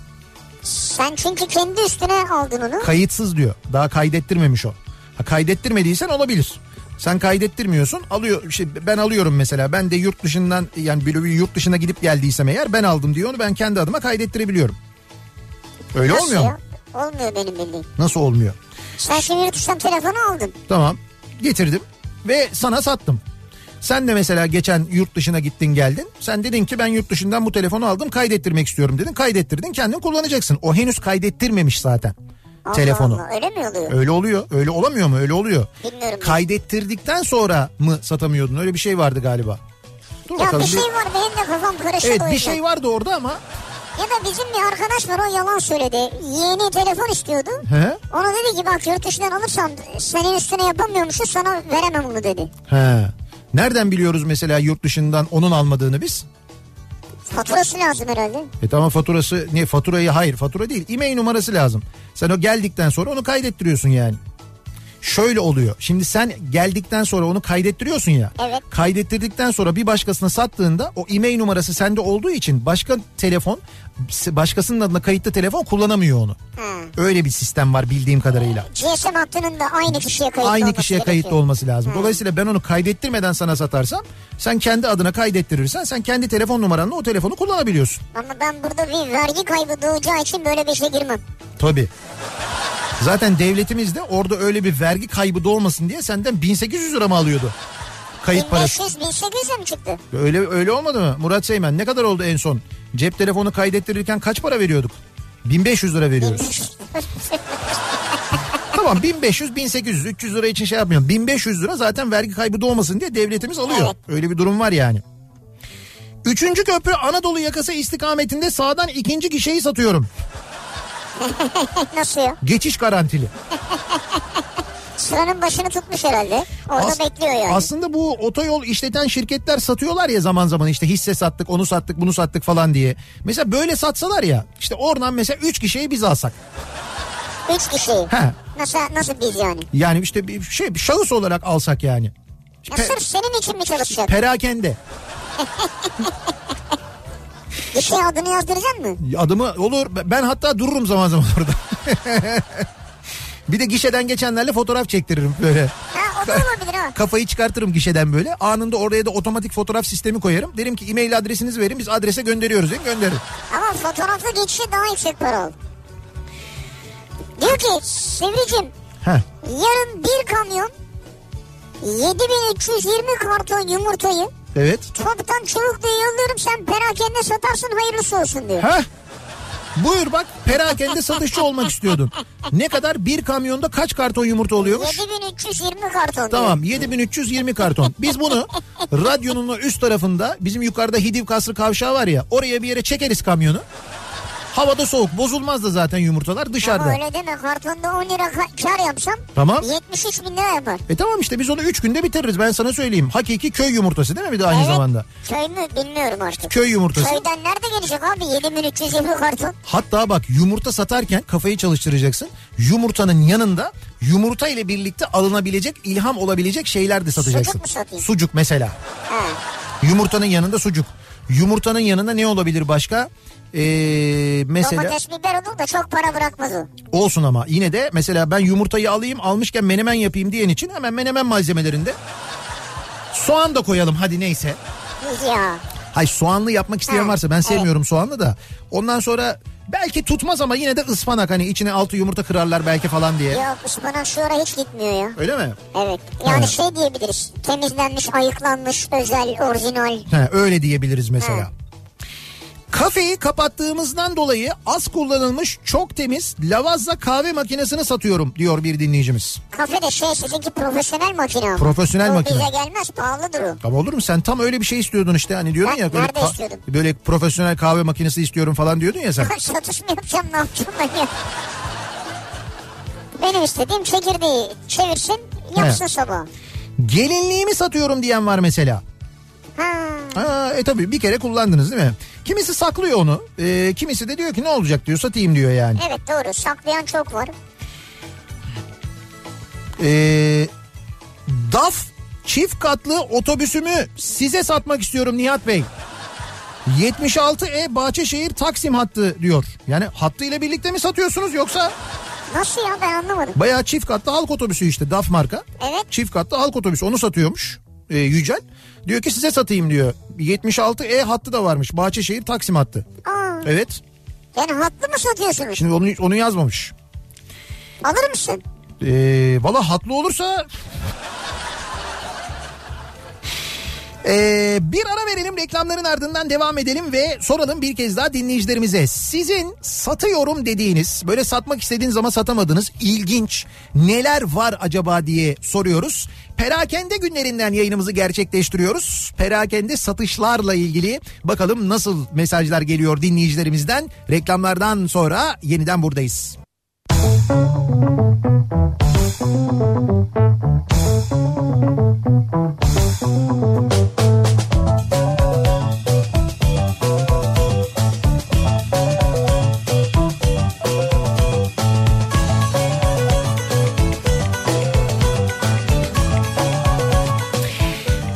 B: Sen çünkü kendi üstüne aldın onu.
A: Kayıtsız diyor. Daha kaydettirmemiş o. Ha, kaydettirmediysen olabilir. Sen kaydettirmiyorsun. Alıyor şey ben alıyorum mesela. Ben de yurt dışından yani böyle bir yurt dışına gidip geldiysem eğer ben aldım diyor. Onu ben kendi adıma kaydettirebiliyorum. Öyle
B: Nasıl
A: olmuyor mu?
B: ya? Olmuyor benim bildiğim.
A: Nasıl olmuyor?
B: Sen şimdi yurt dışından telefonu aldın.
A: Tamam. Getirdim ve sana sattım. Sen de mesela geçen yurt dışına gittin geldin. Sen dedin ki ben yurt dışından bu telefonu aldım kaydettirmek istiyorum dedin. Kaydettirdin kendin kullanacaksın. O henüz kaydettirmemiş zaten
B: Allah
A: telefonu.
B: Allah, öyle mi oluyor?
A: Öyle oluyor. Öyle olamıyor mu? Öyle oluyor.
B: Bilmiyorum ben.
A: Kaydettirdikten sonra mı satamıyordun? Öyle bir şey vardı galiba. Dur
B: ya
A: bakalım.
B: bir
A: bir-
B: şey var benim de kafam karıştı
A: Evet
B: o
A: bir
B: yüzden.
A: şey vardı orada ama
B: Ya da bizim bir arkadaş var o yalan söyledi. Yeni telefon istiyordu.
A: He?
B: Ona dedi ki bak yurt dışından alırsam senin üstüne yapamıyormuşsun sana veremem bunu dedi.
A: He. Nereden biliyoruz mesela yurt dışından onun almadığını biz?
B: Faturası lazım herhalde.
A: E tamam faturası ne faturayı hayır fatura değil e-mail numarası lazım. Sen o geldikten sonra onu kaydettiriyorsun yani. Şöyle oluyor. Şimdi sen geldikten sonra onu kaydettiriyorsun ya.
B: Evet.
A: Kaydettirdikten sonra bir başkasına sattığında o e-mail numarası sende olduğu için başka telefon başkasının adına kayıtlı telefon kullanamıyor onu.
B: He.
A: Öyle bir sistem var bildiğim kadarıyla.
B: GSM hattının da aynı kişiye kayıtlı
A: aynı
B: olması
A: kişiye
B: gerekiyor. Hmm.
A: kayıtlı olması lazım. Dolayısıyla ben onu kaydettirmeden sana satarsam sen kendi adına kaydettirirsen sen kendi telefon numaranla o telefonu kullanabiliyorsun.
B: Ama ben burada bir vergi kaybı doğacağı için böyle bir şey girmem.
A: Tabii. Zaten devletimiz de orada öyle bir vergi kaybı da olmasın diye senden 1800 lira mı alıyordu? Kayıt parası.
B: 1500 1800'e mi çıktı?
A: Öyle öyle olmadı mı? Murat Seymen ne kadar oldu en son? Cep telefonu kaydettirirken kaç para veriyorduk? 1500 lira veriyoruz. tamam 1500 1800 300 lira için şey yapmıyorum. 1500 lira zaten vergi kaybı doğmasın diye devletimiz alıyor.
B: Evet.
A: Öyle bir durum var yani. Üçüncü köprü Anadolu yakası istikametinde sağdan ikinci gişeyi satıyorum.
B: Nasıl ya?
A: Geçiş garantili.
B: Sıranın başını tutmuş herhalde. Orada
A: As-
B: bekliyor yani.
A: Aslında bu otoyol işleten şirketler satıyorlar ya zaman zaman işte hisse sattık onu sattık bunu sattık falan diye. Mesela böyle satsalar ya işte oradan mesela 3 kişiyi biz alsak.
B: Üç kişiyi.
A: He.
B: Nasıl, nasıl biz yani?
A: Yani işte bir şey bir şahıs olarak alsak yani.
B: Ya
A: Pe-
B: sırf senin için mi çalışacak?
A: perakende
B: Bir şey adını yazdıracak mı?
A: adımı olur ben hatta dururum zaman zaman orada. bir de gişeden geçenlerle fotoğraf çektiririm böyle.
B: Ha o da olabilir ha.
A: Kafayı çıkartırım gişeden böyle. Anında oraya da otomatik fotoğraf sistemi koyarım. Derim ki e-mail adresinizi verin biz adrese gönderiyoruz derim gönderirim.
B: Ama fotoğraflı geçişi daha yüksek para al. Diyor ki Sivricim
A: Heh.
B: yarın bir kamyon 7320 karton yumurtayı
A: Evet.
B: toptan çubukla yolluyorum sen perakende satarsın hayırlısı olsun diyor.
A: Heh. Buyur bak perakende satışçı olmak istiyordun. Ne kadar bir kamyonda kaç karton yumurta oluyormuş?
B: 7320 karton
A: Tamam 7320 karton. Biz bunu radyonun o üst tarafında bizim yukarıda Hidiv Kasrı kavşağı var ya oraya bir yere çekeriz kamyonu. Havada soğuk bozulmaz da zaten yumurtalar
B: diyor. Ama
A: dışarıda.
B: öyle deme kartonda 10 lira ka- kar yapsam
A: Tamam.
B: 73 bin lira yapar.
A: E tamam işte biz onu 3 günde bitiririz ben sana söyleyeyim. Hakiki köy yumurtası değil mi bir de aynı zamanda?
B: Köy mü bilmiyorum artık.
A: Köy yumurtası.
B: Köyden nerede gelecek abi 7320 karton?
A: Hatta bak yumurta satarken kafayı çalıştıracaksın. Yumurtanın yanında yumurta ile birlikte alınabilecek, ilham olabilecek şeyler de satacaksın.
B: Sucuk mu satayım?
A: Sucuk mesela.
B: Ha.
A: Yumurtanın yanında sucuk. Yumurtanın yanında ne olabilir başka? Ee, mesela
B: Domates biber olur da çok para bırakmaz o.
A: olsun ama yine de mesela ben yumurtayı alayım almışken menemen yapayım diyen için hemen menemen malzemelerinde soğan da koyalım hadi neyse.
B: Ya.
A: Hay soğanlı yapmak isteyen
B: Ha,
A: varsa ben
B: evet.
A: sevmiyorum soğanlı da. Ondan sonra belki tutmaz ama yine de ıspanak hani içine altı yumurta kırarlar belki falan diye.
B: Yok ıspanak şu ara hiç gitmiyor ya.
A: Öyle mi?
B: Evet. Yani
A: Ha.
B: şey diyebiliriz. Temizlenmiş, ayıklanmış, özel, orijinal.
A: He, öyle diyebiliriz mesela. Kafeyi kapattığımızdan dolayı az kullanılmış çok temiz lavazza kahve makinesini satıyorum diyor bir dinleyicimiz.
B: Kafede şey sizinki profesyonel makine. ama.
A: Profesyonel
B: Bu
A: makine.
B: bize gelmez pahalıdır o.
A: Ama olur mu sen tam öyle bir şey istiyordun işte hani diyordun
B: Ben
A: ya böyle,
B: nerede istiyordum?
A: böyle profesyonel kahve makinesi istiyorum falan diyordun ya sen.
B: Satış mı yapacağım ne yapacağım ben ya. Benim istediğim çekirdeği çevirsin yapsın
A: Evet.
B: sabah.
A: Gelinliğimi satıyorum diyen var mesela.
B: Ha.
A: Ha, e tabii bir kere kullandınız değil mi? Kimisi saklıyor onu. e, kimisi de diyor ki ne olacak diyor satayım diyor yani.
B: Evet doğru saklayan çok var.
A: E, DAF çift katlı otobüsümü size satmak istiyorum Nihat Bey. 76E Bahçeşehir Taksim hattı diyor. Yani hattı ile birlikte mi satıyorsunuz yoksa
B: Nasıl ya ben anlamadım.
A: bayağı çift katlı halk otobüsü işte DAF marka.
B: Evet.
A: Çift katlı halk otobüsü onu satıyormuş e, Yücel. Diyor ki size satayım diyor. 76E hattı da varmış Bahçeşehir Taksim hattı.
B: Aa,
A: Evet
B: yani hatlı mı satıyorsunuz?
A: şimdi onu, onu yazmamış.
B: Alır mısın?
A: Ee, Valla hatlı olursa... Ee, bir ara verelim reklamların ardından devam edelim ve soralım bir kez daha dinleyicilerimize. Sizin satıyorum dediğiniz böyle satmak istediğiniz ama satamadığınız ilginç neler var acaba diye soruyoruz. Perakende günlerinden yayınımızı gerçekleştiriyoruz. Perakende satışlarla ilgili bakalım nasıl mesajlar geliyor dinleyicilerimizden. Reklamlardan sonra yeniden buradayız.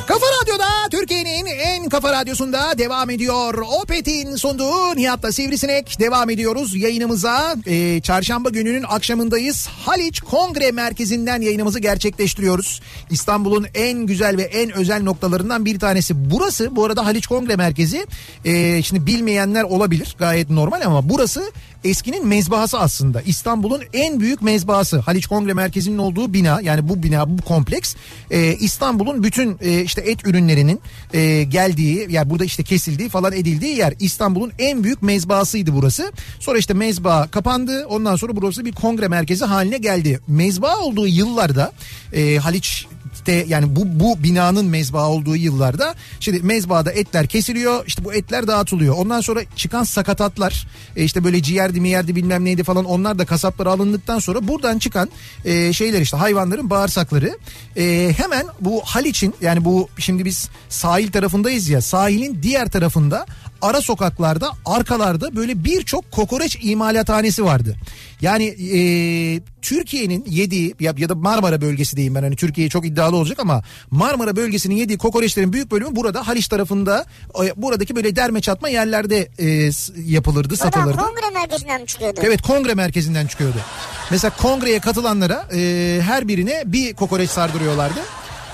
A: Kafa Radyo'da Türkiye'nin en kafa radyosunda devam ediyor. Opet'in sunduğu Nihat'la Sivrisinek devam ediyoruz yayınımıza. Ee, çarşamba gününün akşamındayız. Haliç Kongre Merkezi'nden yayınımızı gerçekleştiriyoruz. İstanbul'un en güzel ve en özel noktalarından bir tanesi burası. Bu arada Haliç Kongre Merkezi ee, şimdi bilmeyenler olabilir gayet normal ama burası eskinin mezbahası aslında. İstanbul'un en büyük mezbahası. Haliç Kongre Merkezi'nin olduğu bina yani bu bina bu kompleks e, İstanbul'un bütün e, işte et ürünlerinin e, geldiği yani burada işte kesildiği falan edildiği yer İstanbul'un en büyük mezbahasıydı burası. Sonra işte mezba kapandı ondan sonra burası bir kongre merkezi haline geldi. Mezba olduğu yıllarda e, Haliç de yani bu bu binanın mezba olduğu yıllarda şimdi mezbada etler kesiliyor işte bu etler dağıtılıyor. Ondan sonra çıkan sakatatlar e, işte böyle ciğerdi miyerdi bilmem neydi falan onlar da kasaplara alındıktan sonra buradan çıkan e, şeyler işte hayvanların bağırsakları e, hemen bu Haliç'in yani bu şimdi biz sahil tarafındayız ya sahilin diğer tarafında ara sokaklarda arkalarda böyle birçok kokoreç imalathanesi vardı. Yani e, Türkiye'nin yediği ya, ya da Marmara bölgesi diyeyim ben hani Türkiye çok iddialı olacak ama Marmara bölgesinin yediği kokoreçlerin büyük bölümü burada Haliç tarafında e, buradaki böyle derme çatma yerlerde e, s- yapılırdı
B: Buradan
A: satılırdı.
B: kongre merkezinden mi çıkıyordu?
A: Evet kongre merkezinden çıkıyordu. Mesela kongreye katılanlara e, her birine bir kokoreç sardırıyorlardı.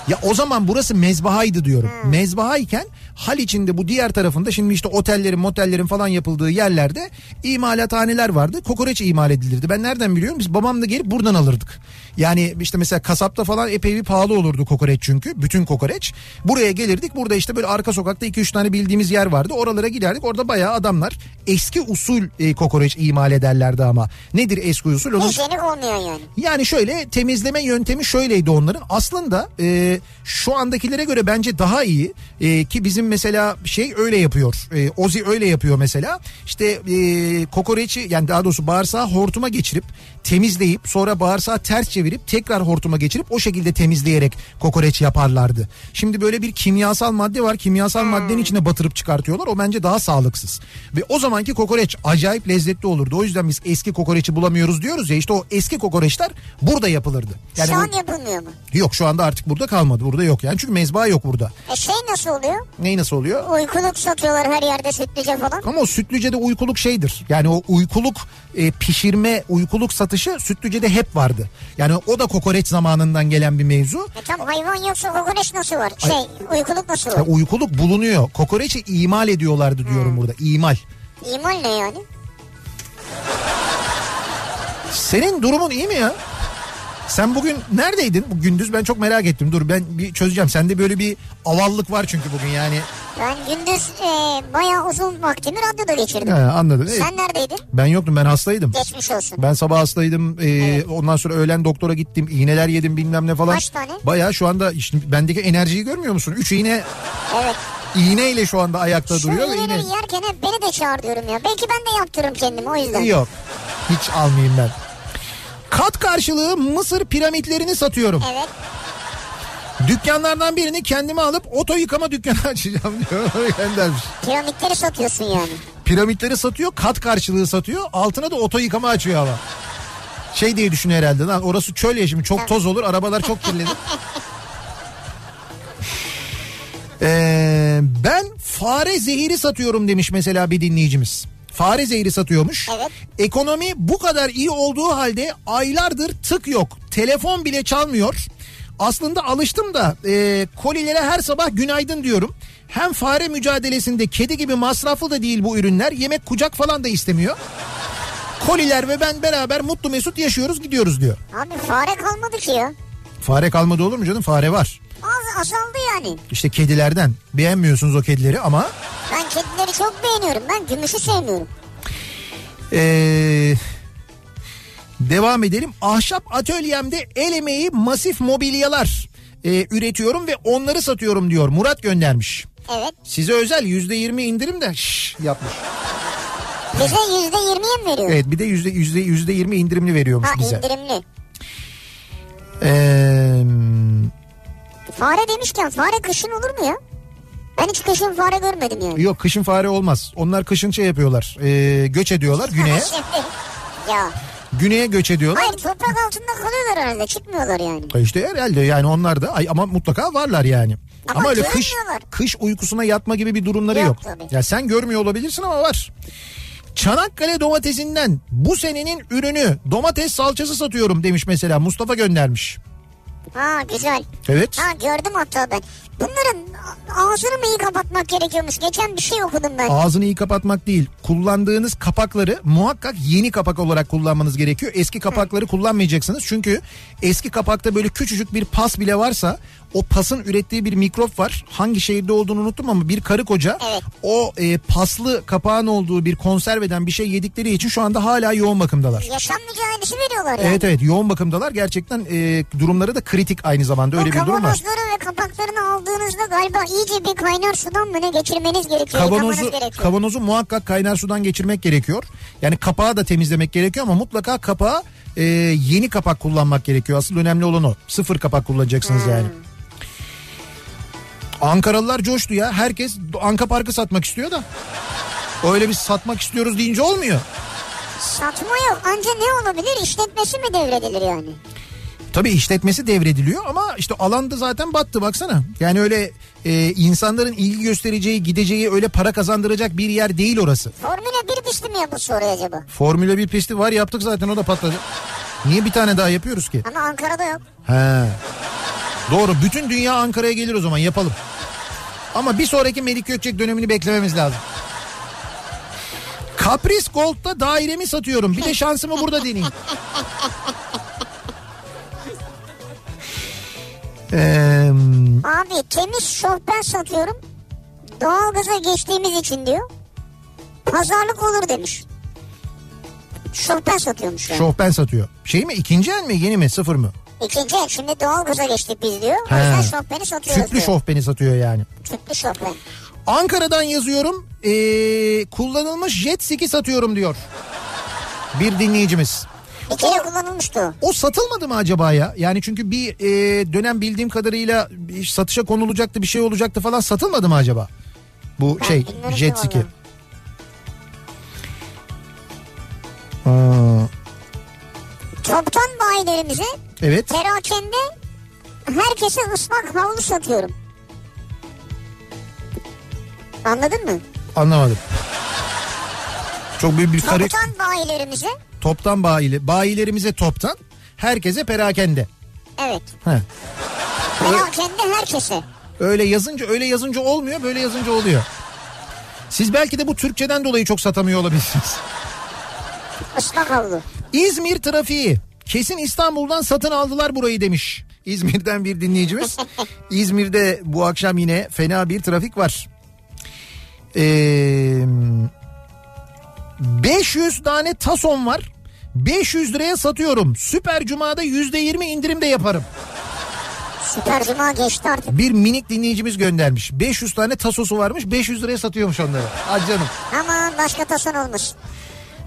A: Ya o zaman burası mezbahaydı diyorum. Mezbahayken Haliç'in de bu diğer tarafında şimdi işte otellerin motellerin falan yapıldığı yerlerde imalathaneler vardı. Kokoreç imal edilirdi. Ben nereden biliyorum? Biz babamla gelip buradan alırdık. Yani işte mesela kasapta falan epey bir pahalı olurdu kokoreç çünkü. Bütün kokoreç. Buraya gelirdik. Burada işte böyle arka sokakta 2-3 tane bildiğimiz yer vardı. Oralara giderdik. Orada bayağı adamlar eski usul e, kokoreç imal ederlerdi ama. Nedir eski usul? Onun
B: Hijyenik olmuyor yani.
A: yani şöyle temizleme yöntemi şöyleydi onların. Aslında e, şu andakilere göre bence daha iyi. E, ki bizim mesela şey öyle yapıyor. E, Ozi öyle yapıyor mesela. İşte e, kokoreçi yani daha doğrusu bağırsağı hortuma geçirip temizleyip sonra bağırsağı ters çevirip tekrar hortuma geçirip o şekilde temizleyerek kokoreç yaparlardı. Şimdi böyle bir kimyasal madde var. Kimyasal maddenin içine batırıp çıkartıyorlar. O bence daha sağlıksız. Ve o zamanki kokoreç acayip lezzetli olurdu. O yüzden biz eski kokoreçi bulamıyoruz diyoruz ya işte o eski kokoreçler burada yapılırdı.
B: Şu an
A: bu-
B: yapılmıyor mu?
A: yok şu anda artık burada kalmadı. Burada yok yani çünkü mezba yok burada.
B: E şey nasıl oluyor?
A: Ney nasıl oluyor?
B: Uykuluk satıyorlar her yerde sütlüce falan.
A: Ama o sütlücede uykuluk şeydir. Yani o uykuluk e, pişirme, uykuluk satışı sütlücede hep vardı. Yani o da kokoreç zamanından gelen bir mevzu.
B: E tam hayvan yoksa kokoreç nasıl var? Şey uykuluk nasıl
A: Ya
B: var?
A: uykuluk bulunuyor. Kokoreçi imal ediyorlardı diyorum burada. İmal.
B: İmal ne yani?
A: Senin durumun iyi mi ya? Sen bugün neredeydin? Bu gündüz ben çok merak ettim. Dur ben bir çözeceğim. Sende böyle bir avallık var çünkü bugün yani.
B: Ben gündüz e, bayağı uzun vaktimi radyoda geçirdim.
A: He, anladın. Evet.
B: Sen neredeydin?
A: Ee, Ben yoktum ben hastaydım.
B: Geçmiş olsun.
A: Ben sabah hastaydım. Ee, Ondan sonra öğlen doktora gittim. İğneler yedim bilmem ne falan.
B: Kaç tane?
A: Bayağı şu anda işte bendeki enerjiyi görmüyor musun? Üç iğne
B: Evet.
A: iğneyle şu anda ayakta
B: Şu
A: duruyor. ve
B: iğneleri yerken hep beni de çağır diyorum ya. Belki ben de yaptırırım kendimi o yüzden.
A: Yok. Hiç almayayım ben. Kat karşılığı Mısır piramitlerini satıyorum.
B: Evet.
A: Dükkanlardan birini kendime alıp oto yıkama dükkanı açacağım diyor. Göndermiş.
B: Piramitleri satıyorsun yani.
A: Piramitleri satıyor, kat karşılığı satıyor. Altına da oto yıkama açıyor ama. Şey diye düşünüyor herhalde lan orası çöl ya şimdi çok toz olur arabalar çok kirlenir. Ee, ben fare zehiri satıyorum demiş mesela bir dinleyicimiz. Fare zehri satıyormuş.
B: Evet.
A: Ekonomi bu kadar iyi olduğu halde aylardır tık yok. Telefon bile çalmıyor. Aslında alıştım da e, kolilere her sabah günaydın diyorum. Hem fare mücadelesinde kedi gibi masraflı da değil bu ürünler. Yemek kucak falan da istemiyor. Koliler ve ben beraber mutlu mesut yaşıyoruz gidiyoruz diyor.
B: Abi fare kalmadı ki ya.
A: Fare kalmadı olur mu canım? Fare var.
B: Az azaldı yani.
A: İşte kedilerden. Beğenmiyorsunuz o kedileri ama
B: Ben kedileri çok beğeniyorum. Ben gümüşü sevmiyorum.
A: Ee, devam edelim. Ahşap atölyemde el emeği masif mobilyalar e, üretiyorum ve onları satıyorum diyor. Murat göndermiş.
B: Evet.
A: Size özel yüzde yirmi indirim de şş, yapmış.
B: Bize yüzde yirmiye mi veriyor?
A: Evet bir de yüzde yüzde yüzde yirmi indirimli veriyormuş
B: Ha
A: bize.
B: indirimli.
A: Ee,
B: Fare demişken fare kışın olur mu ya? Ben hiç kışın fare görmedim yani.
A: yok kışın fare olmaz. Onlar kışın şey yapıyorlar. e, göç ediyorlar güneye.
B: ya.
A: Güneye göç ediyorlar.
B: Hayır toprak altında kalıyorlar herhalde. Çıkmıyorlar yani.
A: E İşte herhalde yani onlar da ay, ama mutlaka varlar yani. Ama,
B: Ama
A: öyle kış
B: görünmüyorlar.
A: kış uykusuna yatma gibi bir durumları yok.
B: Yok tabii.
A: Ya sen görmüyor olabilirsin ama var. Çanakkale domatesinden bu senenin ürünü domates salçası satıyorum demiş mesela Mustafa göndermiş.
B: Ha güzel.
A: Evet.
B: Ha gördüm hatta ben. Bunların a- ağzını mı iyi kapatmak gerekiyormuş? Geçen bir şey okudum ben.
A: Ağzını iyi kapatmak değil. Kullandığınız kapakları muhakkak yeni kapak olarak kullanmanız gerekiyor. Eski kapakları kullanmayacaksınız. Çünkü eski kapakta böyle küçücük bir pas bile varsa o pasın ürettiği bir mikrop var. Hangi şehirde olduğunu unuttum ama bir karı koca
B: Evet.
A: o e, paslı kapağın olduğu bir konserveden bir şey yedikleri için şu anda hala yoğun bakımdalar.
B: Yaşam mücadelesi veriyorlar yani.
A: Evet evet yoğun bakımdalar gerçekten e, durumları da kritik aynı zamanda öyle
B: o
A: bir durum var.
B: kavanozları ve kapaklarını aldığınızda galiba iyice bir kaynar sudan mı ne geçirmeniz gerekiyor.
A: Kavanozu,
B: yıkamanız gerekiyor.
A: kavanozu muhakkak kaynar sudan geçirmek gerekiyor. Yani kapağı da temizlemek gerekiyor ama mutlaka kapağı e, yeni kapak kullanmak gerekiyor. Asıl önemli olan o. Sıfır kapak kullanacaksınız yani. Ankaralılar coştu ya. Herkes Anka Park'ı satmak istiyor da. Öyle bir satmak istiyoruz deyince olmuyor.
B: Satma yok. Anca ne olabilir? İşletmesi mi devredilir yani?
A: Tabii işletmesi devrediliyor ama işte alanda zaten battı baksana. Yani öyle e, insanların ilgi göstereceği, gideceği öyle para kazandıracak bir yer değil orası.
B: Formula 1 pisti mi yapılsa oraya acaba?
A: Formula 1 pisti var yaptık zaten o da patladı. Niye bir tane daha yapıyoruz ki?
B: Ama Ankara'da yok.
A: He. Doğru bütün dünya Ankara'ya gelir o zaman yapalım. Ama bir sonraki Melik Gökçek dönemini beklememiz lazım. Kapris Gold'da dairemi satıyorum. Bir de şansımı burada deneyeyim. Eee,
B: Abi temiz şofben satıyorum. Doğalgaza geçtiğimiz için diyor. Pazarlık olur demiş. Şofben satıyormuş yani.
A: şofben satıyor. Şey mi ikinci el mi yeni mi sıfır mı?
B: İkinci el şimdi doğalgaza geçtik biz diyor. O
A: He.
B: yüzden şofbeni satıyoruz
A: Tüplü
B: diyor.
A: şofbeni satıyor yani.
B: Tüplü şofben.
A: Ankara'dan yazıyorum. Ee, kullanılmış jet ski satıyorum diyor. Bir dinleyicimiz.
B: Bir kere kullanılmıştı o.
A: O satılmadı mı acaba ya? Yani çünkü bir e, dönem bildiğim kadarıyla bir satışa konulacaktı bir şey olacaktı falan satılmadı mı acaba? Bu
B: Ben
A: şey
B: bilmiyorum
A: jet
B: ki
A: ski.
B: vallahi.
A: Aa,
B: Toptan bayilerimize
A: evet.
B: perakende herkese ıslak havlu satıyorum. Anladın mı?
A: Anlamadım. Çok büyük bir karı
B: Toptan bayilerimize
A: toptan bayili. Bayilerimize toptan, herkese perakende.
B: evet.
A: He.
B: Perakende herkese.
A: Öyle yazınca öyle yazınca olmuyor böyle yazınca oluyor. Siz belki de bu Türkçeden dolayı çok satamıyor olabilirsiniz.
B: Islak havlu.
A: İzmir trafiği. Kesin İstanbul'dan satın aldılar burayı demiş. İzmir'den bir dinleyicimiz. İzmir'de bu akşam yine fena bir trafik var. Ee, 500 tane tason var. 500 liraya satıyorum. Süper Cuma'da %20 indirim de yaparım.
B: Süper Cuma geçti artık.
A: Bir minik dinleyicimiz göndermiş. 500 tane tasosu varmış. 500 liraya satıyormuş onları. Ah canım.
B: Aman başka tason olmuş.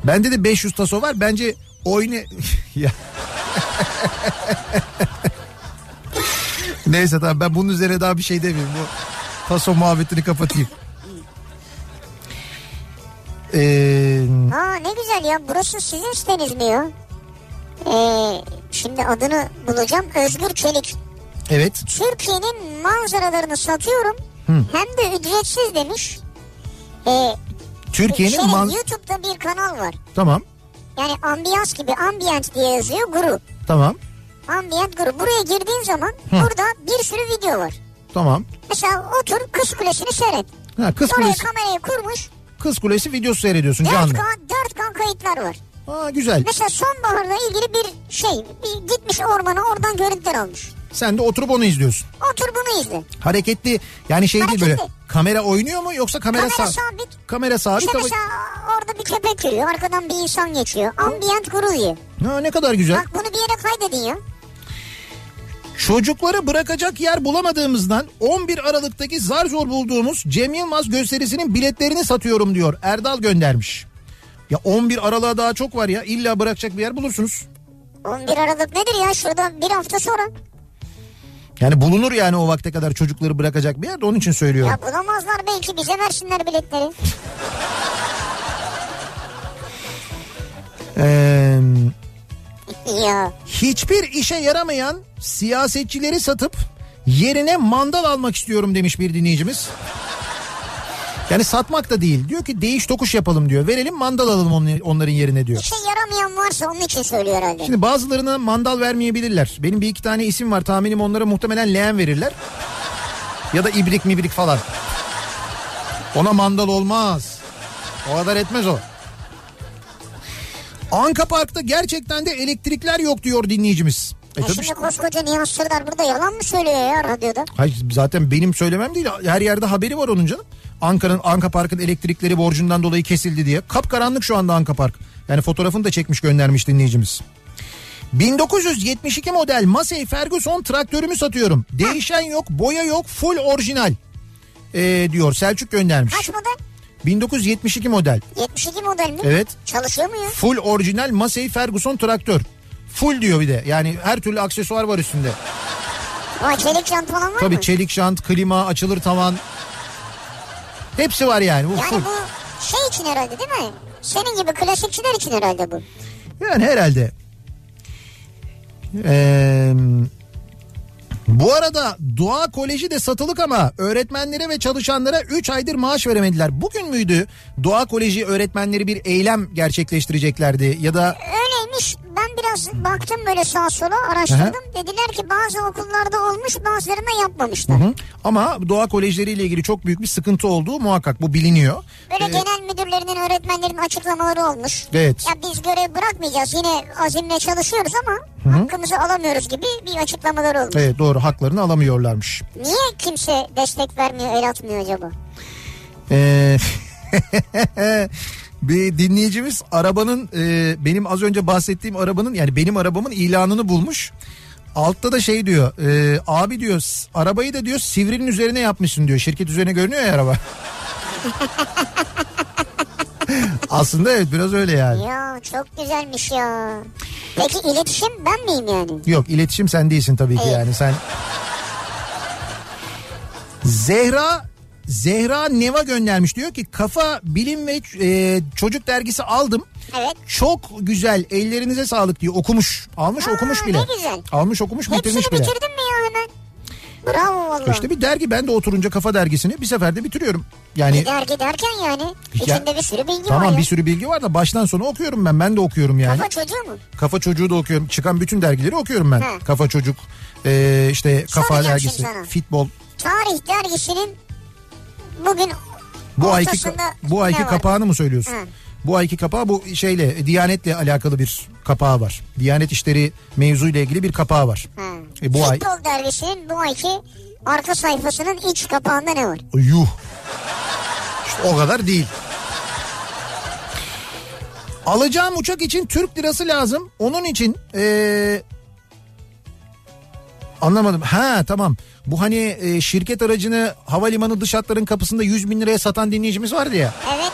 A: Bende de 500 taso var. Bence oyna... ya. Neyse tamam ben bunun üzerine daha bir şey demeyeyim. Bu taso muhabbetini kapatayım. Ee,
B: Aa ne güzel ya burası sizin siteniz mi ya? Ee, şimdi adını bulacağım. Özgür Çelik.
A: evet.
B: Türkiye'nin manzaralarını satıyorum. Hem de ücretsiz demiş. Ee,
A: Türkiye'nin
B: şeyin,
A: man...
B: YouTube'da bir kanal var.
A: Tamam.
B: Yani ambiyans gibi ambient diye yazıyor guru.
A: Tamam.
B: Ambient guru. Buraya girdiğin zaman burada bir sürü video var.
A: Tamam.
B: Mesela otur kız kulesini seyret.
A: Ha, kız
B: Oraya
A: kulesi,
B: kamerayı kurmuş.
A: kız kulesi videosu seyrediyorsun canlı.
B: 4K, 4K kayıtlar var.
A: Aa güzel.
B: Mesela sonbaharla ilgili bir şey bir gitmiş ormana oradan görüntüler almış.
A: Sen de oturup onu izliyorsun.
B: Otur bunu izle.
A: Hareketli yani şey değil böyle
B: Hareketli.
A: kamera oynuyor mu yoksa kamera,
B: Kamera
A: sa-
B: sabit.
A: Kamera sabit
B: İşte
A: ama
B: mesela orada bir köpek yürüyor arkadan bir insan geçiyor. Ambient kuruluyor.
A: Ha, ne kadar güzel.
B: Bak bunu bir yere kaydedin ya.
A: Çocukları bırakacak yer bulamadığımızdan 11 Aralık'taki zar zor bulduğumuz Cem Yılmaz gösterisinin biletlerini satıyorum diyor. Erdal göndermiş. Ya 11 Aralık'a daha çok var ya illa bırakacak bir yer bulursunuz.
B: 11 Aralık nedir ya şurada bir hafta sonra.
A: Yani bulunur yani o vakte kadar çocukları bırakacak bir yer de onun için söylüyorum.
B: Ya bulamazlar belki bize versinler biletleri.
A: Ee,
B: ya
A: hiçbir işe yaramayan siyasetçileri satıp yerine mandal almak istiyorum demiş bir dinleyicimiz. Yani satmak da değil. Diyor ki değiş tokuş yapalım diyor. Verelim mandal alalım onun- onların yerine diyor.
B: işe şey yaramayan varsa onun için söylüyor herhalde.
A: Şimdi bazılarına mandal vermeyebilirler. Benim bir iki tane isim var tahminim onlara muhtemelen leğen verirler. Ya da ibrik mibrik falan. Ona mandal olmaz. O kadar etmez o. Anka Park'ta gerçekten de elektrikler yok diyor dinleyicimiz. E
B: E
A: tabii
B: şimdi
A: işte.
B: koskoca Nihat Sırdar burada yalan mı söylüyor ya radyoda?
A: Hayır, zaten benim söylemem değil. Her yerde haberi var onun canım. Ankara'nın Anka Park'ın elektrikleri borcundan dolayı kesildi diye. Kapkaranlık şu anda Anka Park. Yani fotoğrafını da çekmiş göndermiş dinleyicimiz. 1972 model Massey Ferguson traktörümü satıyorum. Değişen yok, boya yok, full orijinal. Ee, diyor Selçuk göndermiş.
B: Kaç model?
A: 1972 model.
B: 72 model mi?
A: Evet.
B: Çalışıyor mu ya?
A: Full orijinal Massey Ferguson traktör. Full diyor bir de. Yani her türlü aksesuar var üstünde.
B: Aa, çelik jant falan var
A: Tabii
B: mı?
A: çelik şant, klima, açılır tavan. Hepsi var yani. Bu full.
B: Yani bu şey için herhalde değil mi? Senin gibi klasikçiler için herhalde bu.
A: Yani herhalde. Ee, bu arada Doğa Koleji de satılık ama öğretmenlere ve çalışanlara 3 aydır maaş veremediler. Bugün müydü Doğa Koleji öğretmenleri bir eylem gerçekleştireceklerdi ya da
B: Öyleymiş. Ben biraz baktım böyle sağa sola araştırdım. Dediler ki bazı okullarda olmuş bazılarında yapmamışlar.
A: Hı? ama Doğa Kolejleri ile ilgili çok büyük bir sıkıntı olduğu muhakkak bu biliniyor.
B: Böyle genel müdürlerinin öğretmenlerin açıklamaları olmuş.
A: Ee, Evet.
B: Ya biz görev bırakmayacağız yine azimle çalışıyoruz ama hakkımızı alamıyoruz gibi bir açıklamaları olmuş.
A: Evet doğru haklarını alamıyorlarmış.
B: Niye kimse destek vermiyor el atmıyor acaba?
A: Ee, bir dinleyicimiz arabanın e, benim az önce bahsettiğim arabanın yani benim arabamın ilanını bulmuş. Altta da şey diyor e, abi diyor s- arabayı da diyor sivrinin üzerine yapmışsın diyor. Şirket üzerine görünüyor ya araba. Aslında evet biraz öyle yani.
B: Ya çok güzelmiş ya. Peki iletişim ben miyim yani?
A: Yok iletişim sen değilsin tabii ki
B: Evet.
A: yani sen. Zehra Zehra Neva göndermiş diyor ki kafa bilim ve e, çocuk dergisi aldım.
B: Evet.
A: Çok güzel ellerinize sağlık diyor okumuş almış
B: Aa,
A: okumuş bile.
B: ne güzel.
A: Almış okumuş
B: Hepsini
A: bitirmiş bile.
B: bitirdin mi ya hemen? Bravo valla.
A: İşte bir dergi ben de oturunca kafa dergisini bir seferde bitiriyorum. Yani
B: Gider giderken yani
A: Ya-
B: içinde bir sürü bilgi E, var
A: tamam
B: ya.
A: bir sürü bilgi var da baştan sona okuyorum ben ben de okuyorum yani.
B: Kafa çocuğu mu?
A: Kafa Çocuğu da okuyorum. Çıkan bütün dergileri okuyorum ben.
B: He.
A: Kafa Çocuk, e, işte Kafa
B: Soracağım
A: dergisi,
B: şimdi sana.
A: Fitbol.
B: Tarih dergisinin bugün
A: Bu ayki
B: ortasında
A: bu ayki
B: ne var?
A: kapağını mı söylüyorsun?
B: Hı.
A: Bu ayki kapağı bu şeyle Diyanetle alakalı bir kapağı var. Diyanet işleri mevzuyla ilgili bir kapağı var.
B: Ha.
A: E, bu ay
B: Futbol dergisinin bu ayki arka sayfasının iç kapağında ne var?
A: yuh. İşte o kadar değil. Alacağım uçak için Türk lirası lazım. Onun için ee, anlamadım. Ha tamam. Bu hani ee, şirket aracını havalimanı dış hatların kapısında 100 bin liraya satan dinleyicimiz vardı ya.
B: Evet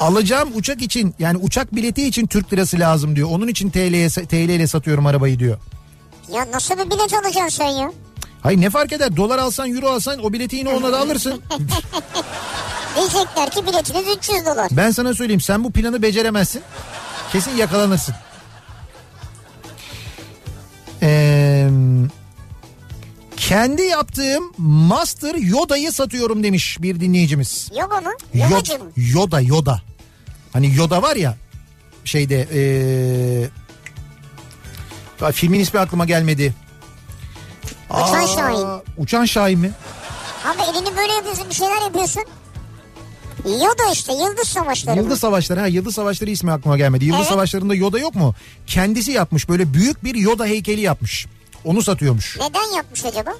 A: Alacağım uçak için yani uçak bileti için Türk lirası lazım diyor. Onun için TL'ye TL ile satıyorum arabayı diyor.
B: ya nasıl bir bilet alacaksın sen ya?
A: Hayır ne fark eder? Dolar alsan, euro alsan o bileti yine ona da alırsın.
B: Diyecekler ki biletiniz 300 dolar.
A: ben sana söyleyeyim sen bu planı beceremezsin. Kesin yakalanırsın. Ee, kendi yaptığım Master Yoda'yı satıyorum demiş bir dinleyicimiz.
B: Yoga mı?
A: Yo-
B: Yogacı mı?
A: Yoda Yoda. Hani Yoda var ya şeyde eee ya filmin ismi aklıma gelmedi.
B: Uçan Şahin.
A: Uçan Şahin mi?
B: Abi elini böyle yapıyorsun bir şeyler yapıyorsun. Yoda işte Yıldız Savaşları.
A: Yıldız Savaşları ha Yıldız Savaşları ismi aklıma gelmedi. Yıldız
B: Evet.
A: Savaşları'nda Yoda yok mu? Kendisi yapmış böyle büyük bir Yoda heykeli yapmış. Onu satıyormuş.
B: Neden yapmış acaba?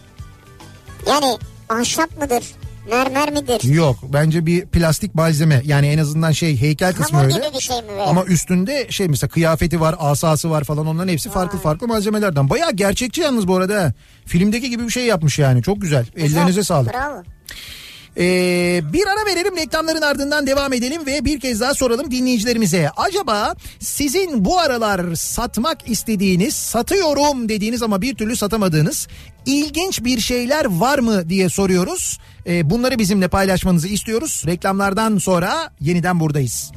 B: Yani ahşap mıdır? Mermer midir?
A: Yok bence bir plastik malzeme yani en azından şey heykel kısmı
B: Hamur
A: öyle.
B: gibi bir şey mi böyle?
A: Ama üstünde şey mesela kıyafeti var, asası var falan onların hepsi farklı farklı malzemelerden. Bayağı gerçekçi yalnız bu arada. ha. Filmdeki gibi bir şey yapmış yani. Çok güzel.
B: Güzel,
A: Ellerinize sağlık.
B: Bravo.
A: Ee, bir ara verelim reklamların ardından devam edelim ve bir kez daha soralım dinleyicilerimize. Acaba sizin bu aralar satmak istediğiniz, satıyorum dediğiniz ama bir türlü satamadığınız ilginç bir şeyler var mı diye soruyoruz. Ee, bunları bizimle paylaşmanızı istiyoruz. Reklamlardan sonra yeniden buradayız.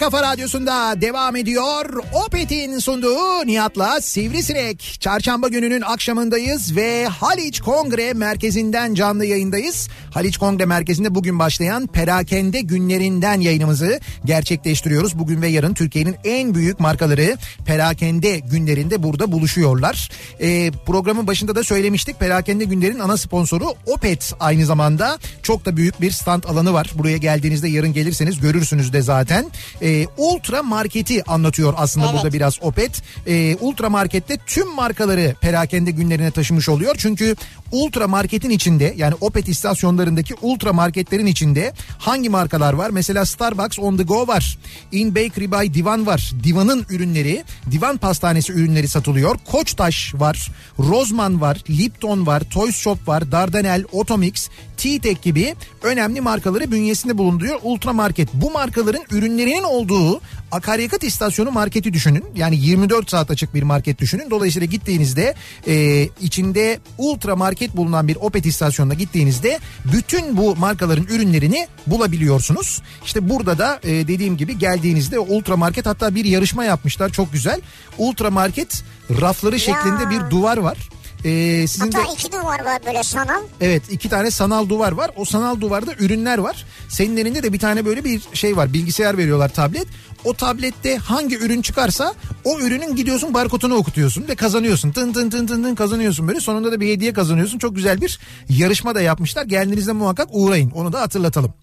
A: Kafa Radyosu'nda devam ediyor. Opet'in sunduğu Nihat'la Sivrisinek. Çarşamba gününün akşamındayız ve Haliç Kongre Merkezi'nden canlı yayındayız. Haliç Kongre Merkezi'nde bugün başlayan perakende günlerinden yayınımızı gerçekleştiriyoruz. Bugün ve yarın Türkiye'nin en büyük markaları perakende günlerinde burada buluşuyorlar. Ee, programın başında da söylemiştik. Perakende günlerin ana sponsoru Opet aynı zamanda. Çok da büyük bir stand alanı var. Buraya geldiğinizde yarın gelirseniz görürsünüz de zaten. Ee, Ultra Market'i anlatıyor aslında
B: Evet.
A: burada biraz Opet. Ee, Ultra Market'te tüm markaları perakende günlerine taşımış oluyor. Çünkü Ultra Market'in içinde yani Opet istasyonlarındaki Ultra Market'lerin içinde hangi markalar var? Mesela Starbucks On The Go var. In Bakery by Divan var. Divan'ın ürünleri, Divan Pastanesi ürünleri satılıyor. Koçtaş var, Rozman var, Lipton var, Toys Shop var, Dardanel, Otomix, T-Tek gibi önemli markaları bünyesinde bulunduruyor Ultra Market. Bu markaların ürünlerinin olduğu akaryakıt istasyonu marketi düşünün. Yani 24 saat açık bir market düşünün. Dolayısıyla gittiğinizde e, içinde Ultra Market bulunan bir Opet istasyonuna gittiğinizde bütün bu markaların ürünlerini bulabiliyorsunuz. İşte burada da e, dediğim gibi geldiğinizde o Ultra Market hatta bir yarışma yapmışlar çok güzel. Ultra Market rafları şeklinde bir duvar var. E, sizin de...
B: Hatta iki duvar var böyle sanal.
A: Evet iki tane sanal duvar var. O sanal duvarda ürünler var. Senin elinde de bir tane böyle bir şey var. Bilgisayar veriyorlar tablet. O tablette hangi ürün çıkarsa o ürünün gidiyorsun barkodunu okutuyorsun ve kazanıyorsun. Tın tın tın tın tın kazanıyorsun böyle. Sonunda da bir hediye kazanıyorsun. Çok güzel bir yarışma da yapmışlar. Geldiğinizde muhakkak uğrayın. Onu da hatırlatalım.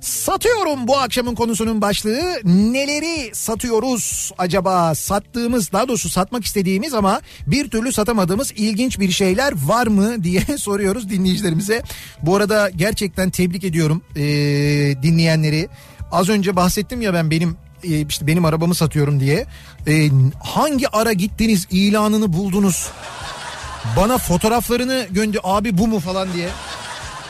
A: Satıyorum bu akşamın konusunun başlığı. Neleri satıyoruz acaba? Sattığımız daha doğrusu satmak istediğimiz ama bir türlü satamadığımız ilginç bir şeyler var mı diye soruyoruz dinleyicilerimize. Bu arada gerçekten tebrik ediyorum ee, dinleyenleri. Az önce bahsettim ya ben benim e, işte benim arabamı satıyorum diye. Ee, hangi ara gittiniz ilanını buldunuz? Bana fotoğraflarını gönder abi bu mu falan diye.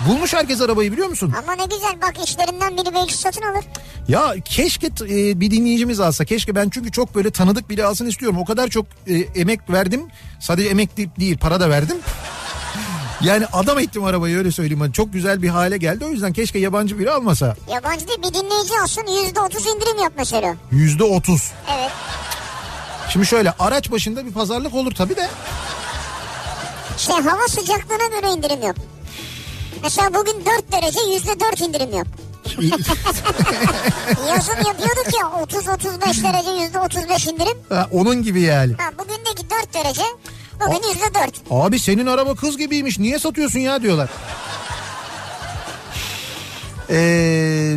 A: Bulmuş herkes arabayı biliyor musun?
B: Ama ne güzel bak işlerinden biri belki satın alır.
A: Ya keşke t- e, bir dinleyicimiz alsa. Keşke ben çünkü çok böyle tanıdık biri alsın istiyorum. O kadar çok e, emek verdim. Sadece emek de- değil para da verdim. Yani adam ettim arabayı öyle söyleyeyim. Hani Çok güzel bir hale geldi. O yüzden keşke yabancı biri almasa.
B: Yabancı değil bir dinleyici olsun %30 indirim yap mesela.
A: Yüzde otuz.
B: Evet.
A: Şimdi şöyle araç başında bir pazarlık olur tabii de.
B: Şey hava sıcaklığına göre indirim yok. Mesela bugün 4 derece %4 indirim yok. Yazın yapıyorduk ya 30-35 derece %35 indirim.
A: Ha, onun gibi yani.
B: Ha, bugündeki 4 derece bugün %4.
A: Abi senin araba kız gibiymiş niye satıyorsun ya diyorlar. Ee,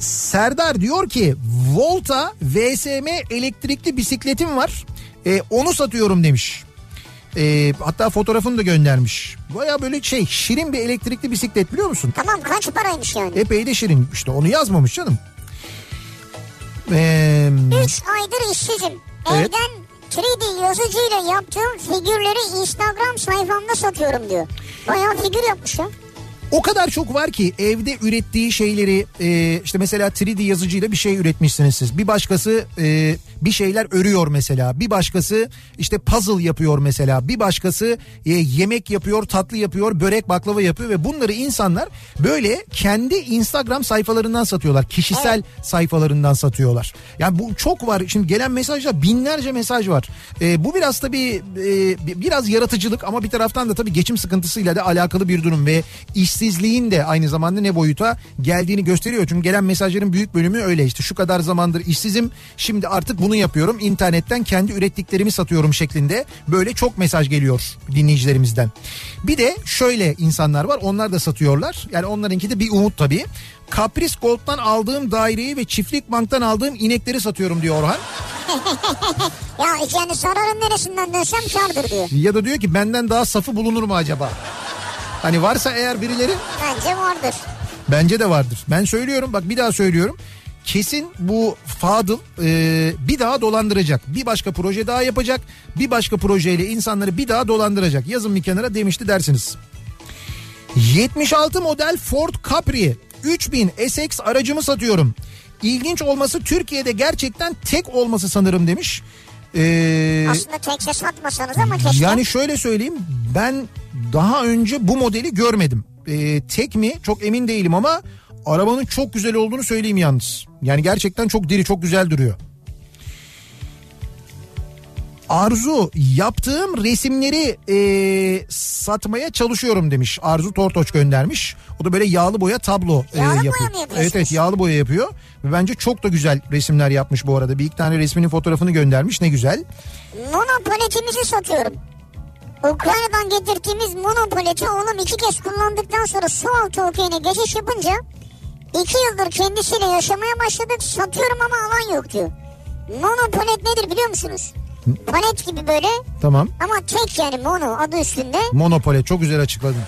A: Serdar diyor ki Volta VSM elektrikli bisikletim var. Ee, onu satıyorum demiş. Ee, hatta fotoğrafını da göndermiş. Baya böyle şey şirin bir elektrikli bisiklet biliyor musun?
B: Tamam kaç paraymış yani?
A: Epey de şirin işte onu yazmamış canım. Ee,
B: 3 aydır işsizim.
A: Evet.
B: Evden 3D yazıcıyla yaptığım figürleri Instagram sayfamda satıyorum diyor. Bayağı figür yapmış ya.
A: O kadar çok var ki evde ürettiği şeyleri e, işte mesela 3D yazıcıyla bir şey üretmişsiniz siz. Bir başkası e, bir şeyler örüyor mesela. Bir başkası işte puzzle yapıyor mesela. Bir başkası e, yemek yapıyor, tatlı yapıyor, börek baklava yapıyor ve bunları insanlar böyle kendi Instagram sayfalarından satıyorlar. Kişisel sayfalarından satıyorlar. Yani bu çok var. Şimdi gelen mesajlar binlerce mesaj var. E, bu biraz tabii e, bi- biraz yaratıcılık ama bir taraftan da tabii geçim sıkıntısıyla da alakalı bir durum ve işsizliğin de aynı zamanda ne boyuta geldiğini gösteriyor. Çünkü gelen mesajların büyük bölümü öyle işte şu kadar zamandır işsizim şimdi artık bunu yapıyorum internetten kendi ürettiklerimi satıyorum şeklinde böyle çok mesaj geliyor dinleyicilerimizden. Bir de şöyle insanlar var onlar da satıyorlar yani onlarınki de bir umut tabii. Kapris Gold'dan aldığım daireyi ve çiftlik banktan aldığım inekleri satıyorum diyor Orhan.
B: Ya yani sararın neresinden dönsem kardır diyor.
A: Ya da diyor ki benden daha safı bulunur mu acaba? Hani varsa eğer birileri
B: Bence vardır.
A: bence de vardır. Ben söylüyorum bak bir daha söylüyorum. Kesin bu Fadıl e, bir daha dolandıracak. Bir başka proje daha yapacak. Bir başka projeyle insanları bir daha dolandıracak. Yazın bir kenara demişti dersiniz. 76 model Ford Capri 3000 SX aracımı satıyorum. İlginç olması Türkiye'de gerçekten tek olması sanırım demiş. Ee,
B: Aslında tekse satmasanız ama keşke.
A: yani şöyle söyleyeyim ben daha önce bu modeli görmedim. Ee, tek mi çok emin değilim ama Arabanın çok güzel olduğunu söyleyeyim yalnız. Yani gerçekten çok diri çok güzel duruyor. Arzu yaptığım resimleri e, satmaya çalışıyorum demiş. Arzu Tortoç göndermiş. O da böyle yağlı boya tablo e,
B: Yağlı boya
A: yapıyor.
B: mı yapıyorsunuz?
A: evet evet yağlı boya yapıyor. Ve bence çok da güzel resimler yapmış bu arada. Bir iki tane resminin fotoğrafını göndermiş ne güzel.
B: Mono paletimizi satıyorum. Ukrayna'dan getirdiğimiz mono paleti oğlum iki kez kullandıktan sonra su altı okeyine geçiş yapınca iki yıldır kendisiyle yaşamaya başladık satıyorum ama alan yok diyor. Mono palet nedir biliyor musunuz? Palet gibi böyle
A: Tamam.
B: ama tek yani mono adı üstünde.
A: Monopole çok güzel açıkladın.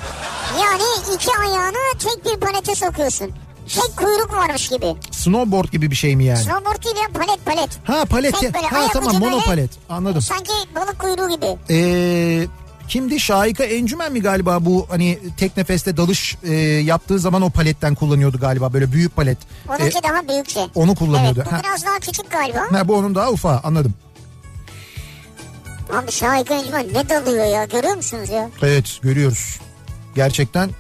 B: Yani iki ayağını tek bir palete sokuyorsun. Tek kuyruk varmış gibi.
A: Snowboard gibi bir şey mi yani?
B: Snowboard değil ya palet palet.
A: Ha palet.
B: Tek böyle
A: Ha
B: ayak
A: tamam
B: ucu böyle.
A: monopalet. Anladım.
B: Sanki balık kuyruğu gibi.
A: Ee, kimdi? Şahika Encümen mi galiba bu hani tek nefeste dalış e, yaptığı zaman o paletten kullanıyordu galiba böyle büyük palet.
B: Onunki
A: Ee,
B: daha büyük şey.
A: onu kullanıyordu.
B: Evet bu
A: ha.
B: biraz daha küçük galiba.
A: ha, bu onun daha ufağı anladım.
B: Abi Şahika Encümen ne dalıyor ya görüyor musunuz ya?
A: Evet görüyoruz. Gerçekten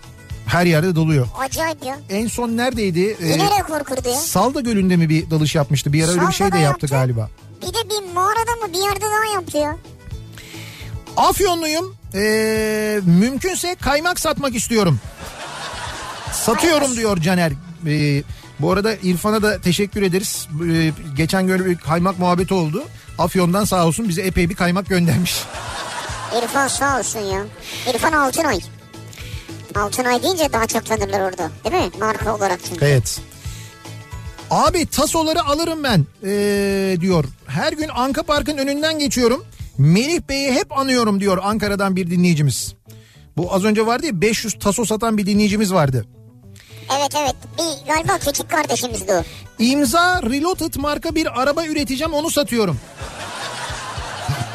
A: her yerde doluyor.
B: Acayip ya.
A: En son neredeydi? Ee,
B: Yine rekor kurdu ya.
A: Salda Gölü'nde mi bir dalış yapmıştı? Bir ara öyle bir şey de
B: Salda'da
A: yaptı
B: yaptı.
A: galiba.
B: Bir de bir mağarada mı bir yerde daha yaptı ya.
A: Afyonluyum. Ee, mümkünse kaymak satmak istiyorum. Satıyorum diyor Caner. Ee, bu arada İrfan'a da teşekkür ederiz. Ee, geçen gün bir kaymak muhabbeti oldu. Afyon'dan sağ olsun bize epey bir kaymak göndermiş.
B: İrfan sağ olsun ya. İrfan Altınay. Altınay deyince daha çok tanırlar orada. Değil mi? Marka olarak çünkü.
A: Evet. Abi tasoları alırım ben ee, diyor. Her gün Anka Park'ın önünden geçiyorum. Melih Bey'i hep anıyorum diyor Ankara'dan bir dinleyicimiz. Bu az önce vardı ya 500 taso satan bir dinleyicimiz vardı.
B: Evet evet. Bir galiba küçük kardeşimizdi o.
A: İmza Reloaded marka bir araba üreteceğim onu satıyorum.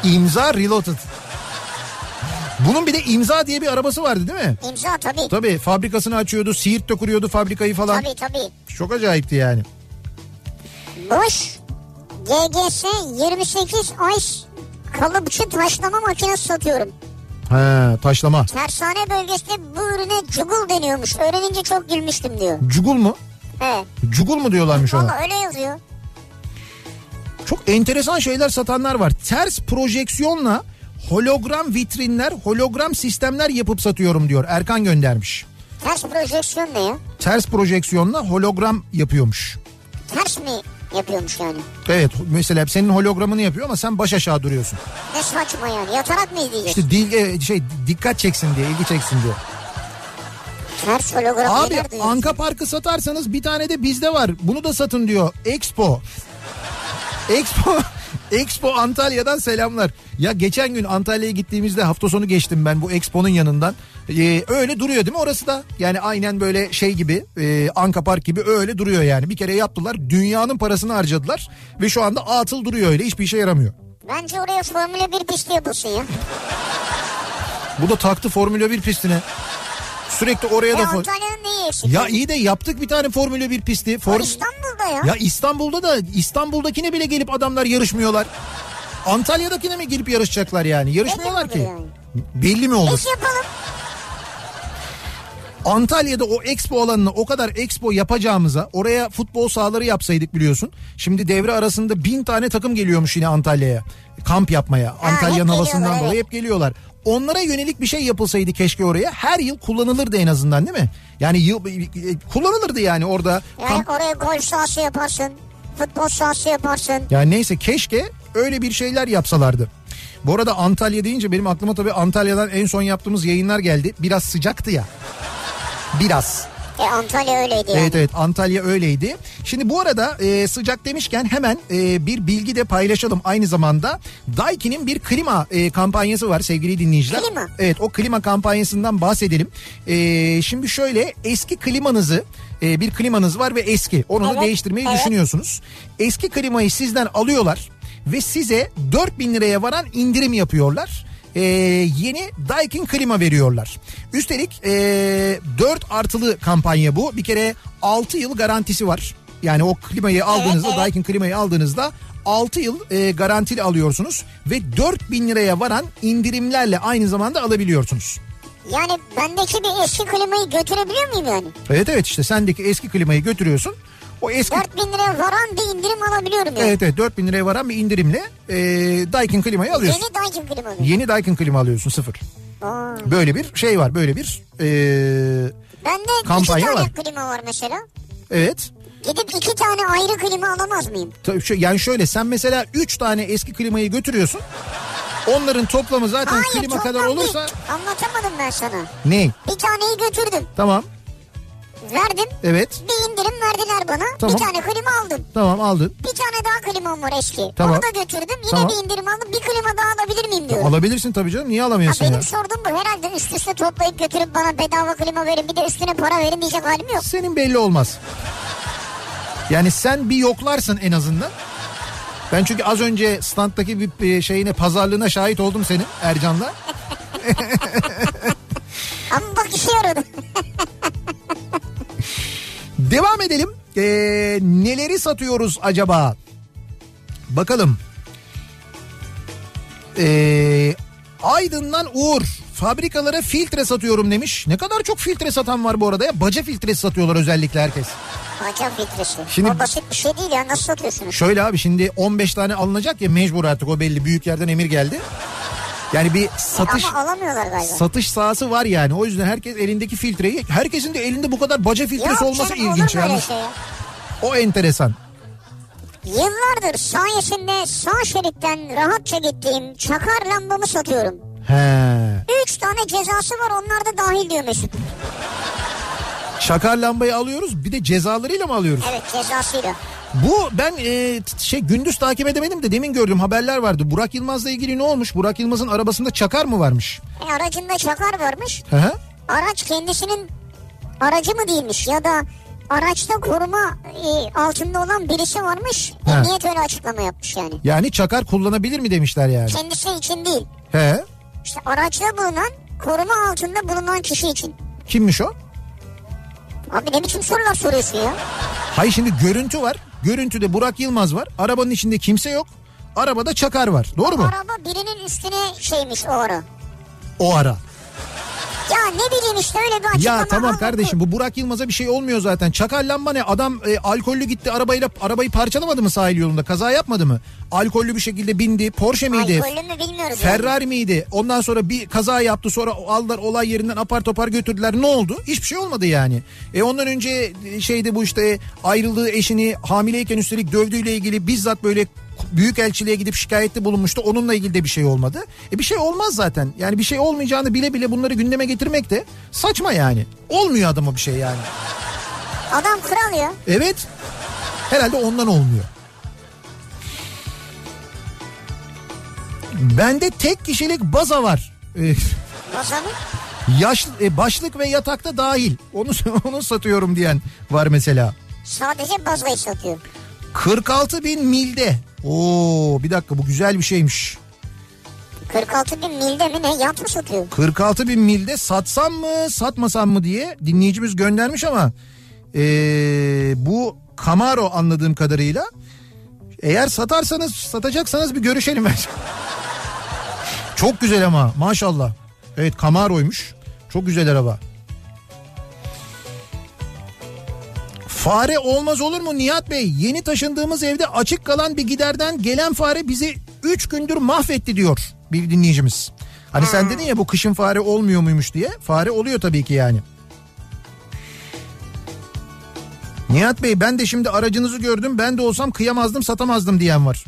A: İmza Reloaded. Bunun bir de imza diye bir arabası vardı değil mi?
B: İmza tabii.
A: Tabii fabrikasını açıyordu, Siirt'te kuruyordu fabrikayı falan.
B: Tabii tabii.
A: Çok acayipti yani.
B: Boş GGS 28 ice kalıpçı taşlama makinesi satıyorum.
A: He, taşlama.
B: Tersane bölgesinde bu ürüne cugul deniyormuş. Öğrenince çok gülmüştüm diyor.
A: Cugul mu?
B: He.
A: Cugul mu diyorlarmış ona?
B: Valla öyle yazıyor.
A: Çok enteresan şeyler satanlar var. Ters projeksiyonla hologram vitrinler, hologram sistemler yapıp satıyorum diyor. Erkan göndermiş.
B: Ters projeksiyon ne ya?
A: Ters projeksiyonla hologram yapıyormuş.
B: Ters mi yapıyormuş yani?
A: Evet mesela senin hologramını yapıyor ama sen baş aşağı duruyorsun.
B: Ne saçma yani. Yatarak mı izleyeceğiz?
A: İşte dil, e, şey dikkat çeksin diye, ilgi çeksin diye.
B: Ters hologram
A: Abi
B: neler duyuyorsun?
A: Anka Park'ı satarsanız bir tane de bizde var. Bunu da satın diyor. Expo. Expo Expo Antalya'dan selamlar. Ya geçen gün Antalya'ya gittiğimizde hafta sonu geçtim ben bu Expo'nun yanından. Ee, öyle duruyor değil mi orası da? Yani aynen böyle şey gibi e, Anka Park gibi öyle duruyor yani. Bir kere yaptılar dünyanın parasını harcadılar ve şu anda atıl duruyor öyle hiçbir işe yaramıyor.
B: Bence oraya Formula 1 pisti yapılsın ya.
A: Bu da taktı Formula 1 pistine. Sürekli oraya
B: Ya
A: da... for-
B: Antalya'nın neyi eksik?
A: Ya iyi de yaptık bir tane Formula 1 pisti.
B: Var
A: Form...
B: İstanbul'da ya.
A: Ya İstanbul'da da İstanbul'dakine bile gelip adamlar yarışmıyorlar. Antalya'dakine mi gelip yarışacaklar yani? Yarışmıyorlar
B: Belli
A: ki.
B: olur
A: Belli mi olur?
B: Biz yapalım.
A: Antalya'da o expo alanını o kadar expo yapacağımıza oraya futbol sahaları yapsaydık biliyorsun. Şimdi devre arasında bin tane takım geliyormuş yine Antalya'ya. Kamp yapmaya. Antalya'nın
B: hep
A: havasından
B: geliyorlar,
A: dolayı
B: evet.
A: hep geliyorlar. Onlara yönelik bir şey yapılsaydı keşke oraya. Her yıl kullanılırdı en azından değil mi? Yani yıl, kullanılırdı yani orada.
B: Yani
A: kamp-
B: oraya golf sahası yaparsın. Futbol sahası yaparsın.
A: Yani neyse keşke öyle bir şeyler yapsalardı. Bu arada Antalya deyince benim aklıma tabii Antalya'dan en son yaptığımız yayınlar geldi. Biraz sıcaktı ya. Biraz.
B: E Antalya öyleydi yani.
A: Evet evet Antalya öyleydi. Şimdi bu arada e, sıcak demişken hemen e, bir bilgi de paylaşalım. Aynı zamanda Daiki'nin bir klima e, kampanyası var sevgili dinleyiciler.
B: Klima.
A: Evet o klima kampanyasından bahsedelim. E, şimdi şöyle eski klimanızı e, bir klimanız var ve eski. Onu da
B: Evet,
A: değiştirmeyi
B: evet.
A: düşünüyorsunuz. Eski klimayı sizden alıyorlar ve size 4000 liraya varan indirim yapıyorlar. E, yeni Daikin klima veriyorlar. Üstelik e, 4 artılı kampanya bu. Bir kere 6 yıl garantisi var. Yani o klimayı aldığınızda
B: evet.
A: Daikin klimayı aldığınızda 6 yıl e, garantili alıyorsunuz ve 4000 liraya varan indirimlerle aynı zamanda alabiliyorsunuz.
B: Yani bendeki bir eski klimayı götürebiliyor muyum yani?
A: Evet evet işte sendeki eski klimayı götürüyorsun. O eski
B: 4000 liraya varan bir indirim alabiliyorum yani.
A: evet evet 4000 liraya varan bir indirimle e, Daikin klimayı alıyorsun.
B: Yeni Daikin klima alıyorum.
A: Yeni Daikin klima alıyorsun sıfır.
B: Aa.
A: Böyle bir şey var böyle bir e,
B: Bende
A: Kampanya
B: iki tane
A: var.
B: klima var mesela.
A: evet.
B: Gidip iki tane ayrı klima alamaz mıyım?
A: Tabii şu- Yani şöyle sen mesela 3 tane eski klimayı götürüyorsun. Onların toplamı zaten
B: Hayır
A: klima
B: toplam
A: kadar
B: bir-
A: olursa
B: Anlatamadım ben sana.
A: ne?
B: Bir taneyi götürdüm.
A: Tamam.
B: Verdim.
A: Evet.
B: Bir indirim verdiler bana.
A: Tamam.
B: Bir tane klima aldım.
A: Tamam aldın.
B: Bir tane daha klimam var eski.
A: Tamam.
B: Onu da götürdüm. Yine
A: Tamam.
B: bir indirim aldım. Bir klima daha alabilir miyim diyorum.
A: Alabilirsin tabii canım. Niye
B: Ya
A: alamıyorsun ya?
B: benim sorduğum bu herhalde üst üste toplayıp götürüp bana bedava klima verin bir de üstüne para verin diyecek halim yok.
A: Senin belli olmaz. Yani sen bir yoklarsın en azından. Ben çünkü az önce standdaki bir- bir şeyine pazarlığına şahit oldum senin Ercan'la.
B: Ama bak işe yaradı.
A: Devam edelim. Ee, neleri satıyoruz acaba? Bakalım. Ee, Aydın'dan Uğur. Fabrikalara filtre satıyorum demiş. Ne kadar çok filtre satan var bu arada ya. Baca filtresi satıyorlar özellikle herkes.
B: Hocam filtresi.
A: Şimdi-
B: O basit bir şey değil ya nasıl satıyorsunuz?
A: Şöyle abi şimdi 15 tane alınacak ya mecbur artık o belli büyük yerden emir geldi. Yani bir satış
B: Ama alamıyorlar galiba.
A: satış sahası var yani. O yüzden herkes elindeki filtreyi herkesin de elinde bu kadar baca filtresi
B: Yok
A: olması
B: canım, olur
A: ilginç
B: mu öyle
A: yani.
B: şey ya?
A: O enteresan.
B: Yıllardır sayesinde sağ şeritten rahatça gittiğim çakar lambamı satıyorum.
A: He.
B: Üç tane cezası var onlar da dahil diyor Mesut.
A: Şakar lambayı alıyoruz bir de cezalarıyla mı alıyoruz?
B: Evet cezasıyla.
A: Bu ben e, t- şey gündüz takip edemedim de demin gördüm haberler vardı. Burak Yılmaz'la ilgili ne olmuş? Burak Yılmaz'ın arabasında çakar mı varmış?
B: E, aracında çakar varmış.
A: Hı hı.
B: Araç kendisinin aracı mı değilmiş ya da araçta koruma e, altında olan birisi varmış.
A: He.
B: Emniyet öyle açıklama yapmış yani.
A: Yani çakar kullanabilir mi demişler yani.
B: Kendisi için değil.
A: He.
B: İşte araçta bulunan koruma altında bulunan kişi için.
A: Kimmiş o?
B: Abi ne biçim sorular soruyorsun ya?
A: Hayır şimdi görüntü var. Görüntüde Burak Yılmaz var. Arabanın içinde kimse yok. Arabada çakar var. Doğru mu?
B: Araba birinin üstüne şeymiş o ara.
A: O ara.
B: Ya ne bileyim işte öyle bir açıklama.
A: Ya tamam
B: alındı.
A: kardeşim bu Burak Yılmaz'a bir şey olmuyor zaten. Çakar lamba ne? Adam e, alkollü gitti arabayla arabayı parçalamadı mı sahil yolunda? Kaza yapmadı mı? Alkollü bir şekilde bindi. Porsche miydi?
B: Alkollü mü bilmiyoruz. yani.
A: Ferrari miydi? Ondan sonra bir kaza yaptı sonra aldılar olay yerinden apar topar götürdüler. Ne oldu? Hiçbir şey olmadı yani. E ondan önce şeyde bu işte ayrıldığı eşini hamileyken üstelik dövdüğüyle ilgili bizzat böyle büyük elçiliğe gidip şikayette bulunmuştu. Onunla ilgili de bir şey olmadı. E bir şey olmaz zaten. Yani bir şey olmayacağını bile bile bunları gündeme getirmek de saçma yani. Olmuyor adama bir şey yani.
B: Adam kral ya.
A: Evet. Herhalde ondan olmuyor. Bende tek kişilik baza var. Ee,
B: Basamı.
A: Yaş, e, başlık ve yatakta dahil. Onu onu satıyorum diyen var mesela.
B: Sadece bazlayı satıyor.
A: 46 bin milde. Oo bir dakika bu güzel bir şeymiş.
B: 46 bin milde mi ne yat mı satıyor?
A: 46 bin milde satsam mı satmasam mı diye dinleyicimiz göndermiş ama ee, bu Camaro anladığım kadarıyla eğer satarsanız satacaksanız bir görüşelim bence. Çok güzel ama maşallah. Evet Camaro'ymuş. Çok güzel araba. Fare olmaz olur mu Nihat Bey? Yeni taşındığımız evde açık kalan bir giderden gelen fare bizi 3 gündür mahvetti diyor bir dinleyicimiz. Hani sen dedin ya bu kışın fare olmuyor muymuş diye. Fare oluyor tabii ki yani. Nihat Bey ben de şimdi aracınızı gördüm. Ben de olsam kıyamazdım satamazdım diyen var.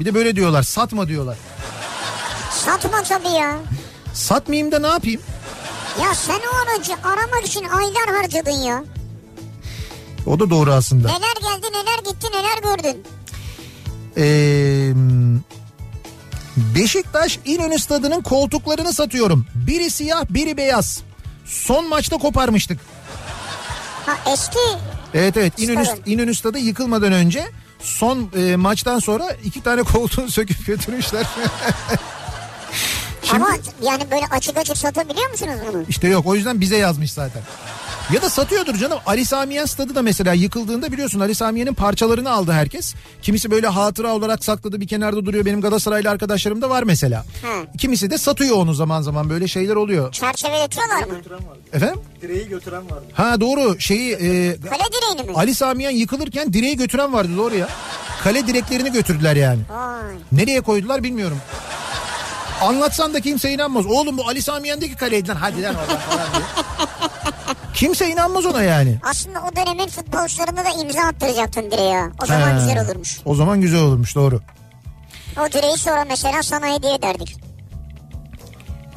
A: Bir de böyle diyorlar satma diyorlar.
B: Satma tabii ya.
A: Satmayayım da ne yapayım?
B: Ya sen o aracı aramak için aylar harcadın ya.
A: O da doğru aslında.
B: Neler geldi neler gitti neler gördün.
A: Ee, Beşiktaş İnönü Stadı'nın koltuklarını satıyorum. Biri siyah biri beyaz. Son maçta koparmıştık.
B: Ha eski
A: Evet evet İnönü,
B: Stadın.
A: İnönü Stadı yıkılmadan önce son e, maçtan sonra iki tane koltuğunu söküp götürmüşler. Şimdi
B: ama yani böyle açık açık satabiliyor musunuz bunu?
A: işte yok o yüzden bize yazmış zaten. Ya da satıyordur canım. Ali Samiyen stadı da mesela yıkıldığında biliyorsun Ali Samiyen'in parçalarını aldı herkes. Kimisi böyle hatıra olarak sakladı bir kenarda duruyor. Benim Galatasaraylı arkadaşlarım da var mesela.
B: Hı.
A: Kimisi de satıyor onu zaman zaman böyle şeyler oluyor.
B: Çerçeveletiyorlar mı?
E: götüren vardı.
A: Efendim?
E: Direği götüren vardı.
A: Ha doğru şeyi e,
B: Kale direğini mi?
A: Ali Samiyen yıkılırken direği götüren vardı doğru ya. Kale direklerini götürdüler yani.
B: Vay.
A: Nereye koydular bilmiyorum. Anlatsan da kimse inanmaz. Oğlum bu Ali Samiyen'deki kaleydi lan hadi lan oradan falan diye. Kimse inanmaz ona yani.
B: Aslında o dönemin futbolcularına da imza attıracaktın direğe. O zaman
A: Ha,
B: güzel olurmuş.
A: O zaman güzel olurmuş doğru.
B: O direği sonra mesela sana hediye ederdik.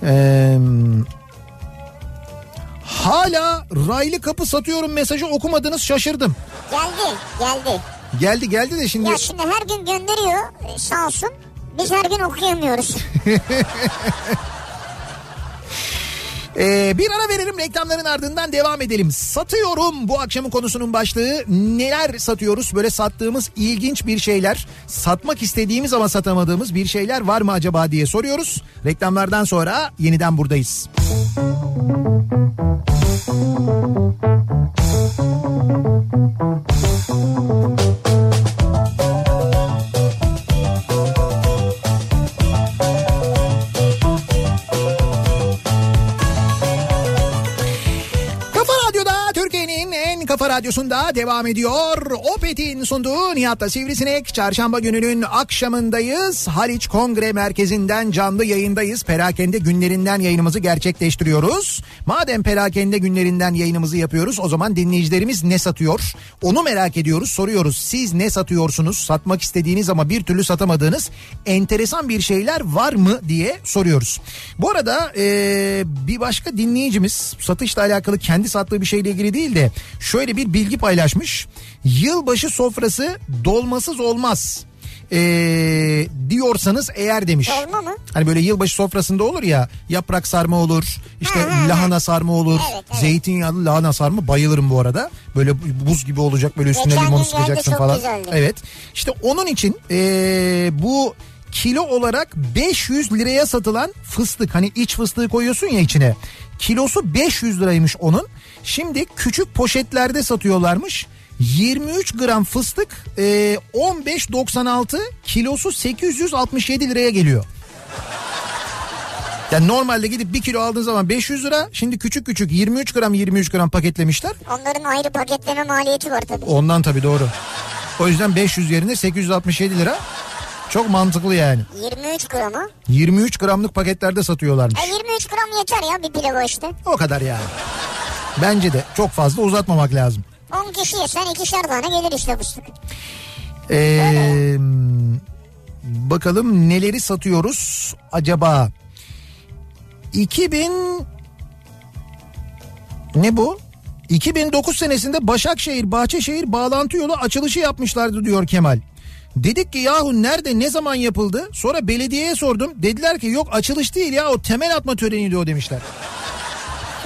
A: Ee, hala raylı kapı satıyorum mesajı okumadınız şaşırdım.
B: Geldi, geldi.
A: Geldi geldi de şimdi
B: Ya şimdi her gün gönderiyor e, sağ olsun. Biz her gün okuyamıyoruz.
A: Ee, bir ara verelim reklamların ardından devam edelim. Satıyorum bu akşamın konusunun başlığı. Neler satıyoruz? Böyle sattığımız ilginç bir şeyler. Satmak istediğimiz ama satamadığımız bir şeyler var mı acaba diye soruyoruz. Reklamlardan sonra yeniden buradayız. Kafa Radyo'da Türkiye'nin en kafa radyosunda devam ediyor. Opet'in sunduğu Nihat'la Sivrisinek. Çarşamba gününün akşamındayız. Haliç Kongre Merkezi'nden canlı yayındayız. Perakende günlerinden yayınımızı gerçekleştiriyoruz. Madem perakende günlerinden yayınımızı yapıyoruz o zaman dinleyicilerimiz ne satıyor? Onu merak ediyoruz, soruyoruz. Siz ne satıyorsunuz? Satmak istediğiniz ama bir türlü satamadığınız enteresan bir şeyler var mı diye soruyoruz. Bu arada eee, bir başka dinleyicimiz satışla alakalı kendi sattığı bir şeyle ilgili değil de şöyle bir bilgi paylaşmış. Yılbaşı sofrası dolmasız olmaz eee, diyorsanız eğer demiş.
B: Dolma mı?
A: Hani böyle yılbaşı sofrasında olur ya yaprak sarma olur işte
B: Ha, ha, ha.
A: lahana sarma olur
B: Evet, evet.
A: zeytinyağlı lahana sarma bayılırım bu arada. Böyle buz gibi olacak böyle üstüne
B: Geçen
A: limonu
B: gün geldi,
A: sıkacaksın
B: çok
A: falan.
B: güzeldi.
A: Evet. İşte onun için eee, bu kilo olarak 500 liraya satılan fıstık hani iç fıstığı koyuyorsun ya içine. Kilosu 500 liraymış onun. Şimdi küçük poşetlerde satıyorlarmış. 23 gram fıstık eee, 15.96 kilosu 867 liraya geliyor. Yani normalde gidip 1 kilo aldığın zaman 500 lira. Şimdi küçük küçük 23 gram 23 gram paketlemişler.
B: Onların ayrı paketleme maliyeti var tabii.
A: Ondan tabii doğru. O yüzden 500 yerine 867 lira. Çok mantıklı yani.
B: 23 gramı.
A: 23 gramlık paketlerde satıyorlarmış.
B: E 23 gram yeter ya bir pilava işte.
A: O kadar yani. Bence de çok fazla uzatmamak lazım.
B: 10 kişi yesen ikişer tane gelir işte fıstık.
A: Ee, bakalım neleri satıyoruz acaba? 2000 ne bu? 2009 senesinde Başakşehir Bahçeşehir bağlantı yolu açılışı yapmışlardı diyor Kemal. Dedik ki yahu nerede ne zaman yapıldı? Sonra belediyeye sordum. Dediler ki yok açılış değil ya o temel atma töreniydi o demişler.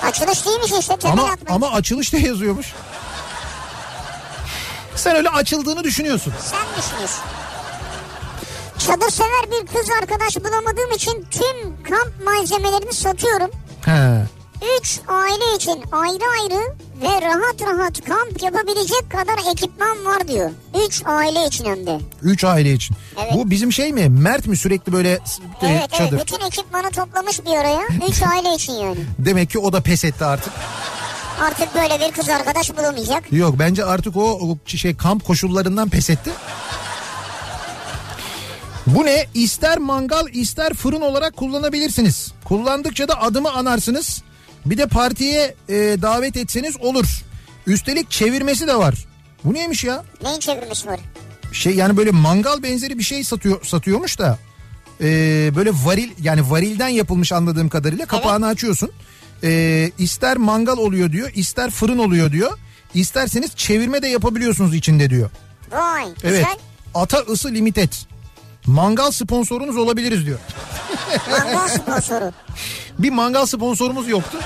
B: Açılış değilmiş işte temel
A: Ama
B: atma.
A: ama açılışta yazıyormuş. Sen öyle açıldığını düşünüyorsun.
B: Sen düşünüyorsun. Çadır sever bir kız arkadaş bulamadığım için tüm kamp malzemelerini satıyorum.
A: He.
B: 3 aile için ayrı ayrı ve rahat rahat kamp yapabilecek kadar ekipman var diyor. 3 aile için hem de.
A: 3 aile için.
B: Evet.
A: Bu bizim şey mi? Mert mi sürekli böyle s- e,
B: Evet evet
A: çadır?
B: bütün ekipmanı toplamış bir araya. 3 aile için yani.
A: Demek ki o da pes etti artık.
B: Artık böyle bir kız arkadaş bulamayacak.
A: Yok bence artık o, o şey kamp koşullarından pes etti. Bu ne? İster mangal ister fırın olarak kullanabilirsiniz. Kullandıkça da adımı anarsınız. Bir de partiye e, davet etseniz olur. Üstelik çevirmesi de var. Bu neymiş ya?
B: Neyin çevirmiş var?
A: şey yani böyle mangal benzeri bir şey satıyor satıyormuş da e, böyle varil yani varilden yapılmış anladığım kadarıyla kapağını açıyorsun. E, ister mangal oluyor diyor, ister fırın oluyor diyor. İsterseniz çevirme de yapabiliyorsunuz içinde diyor.
B: Vay
A: Evet.
B: güzel.
A: Ata ısı limited. Mangal sponsorunuz olabiliriz diyor.
B: Mangal sponsoru.
A: Bir mangal sponsorumuz yoktu.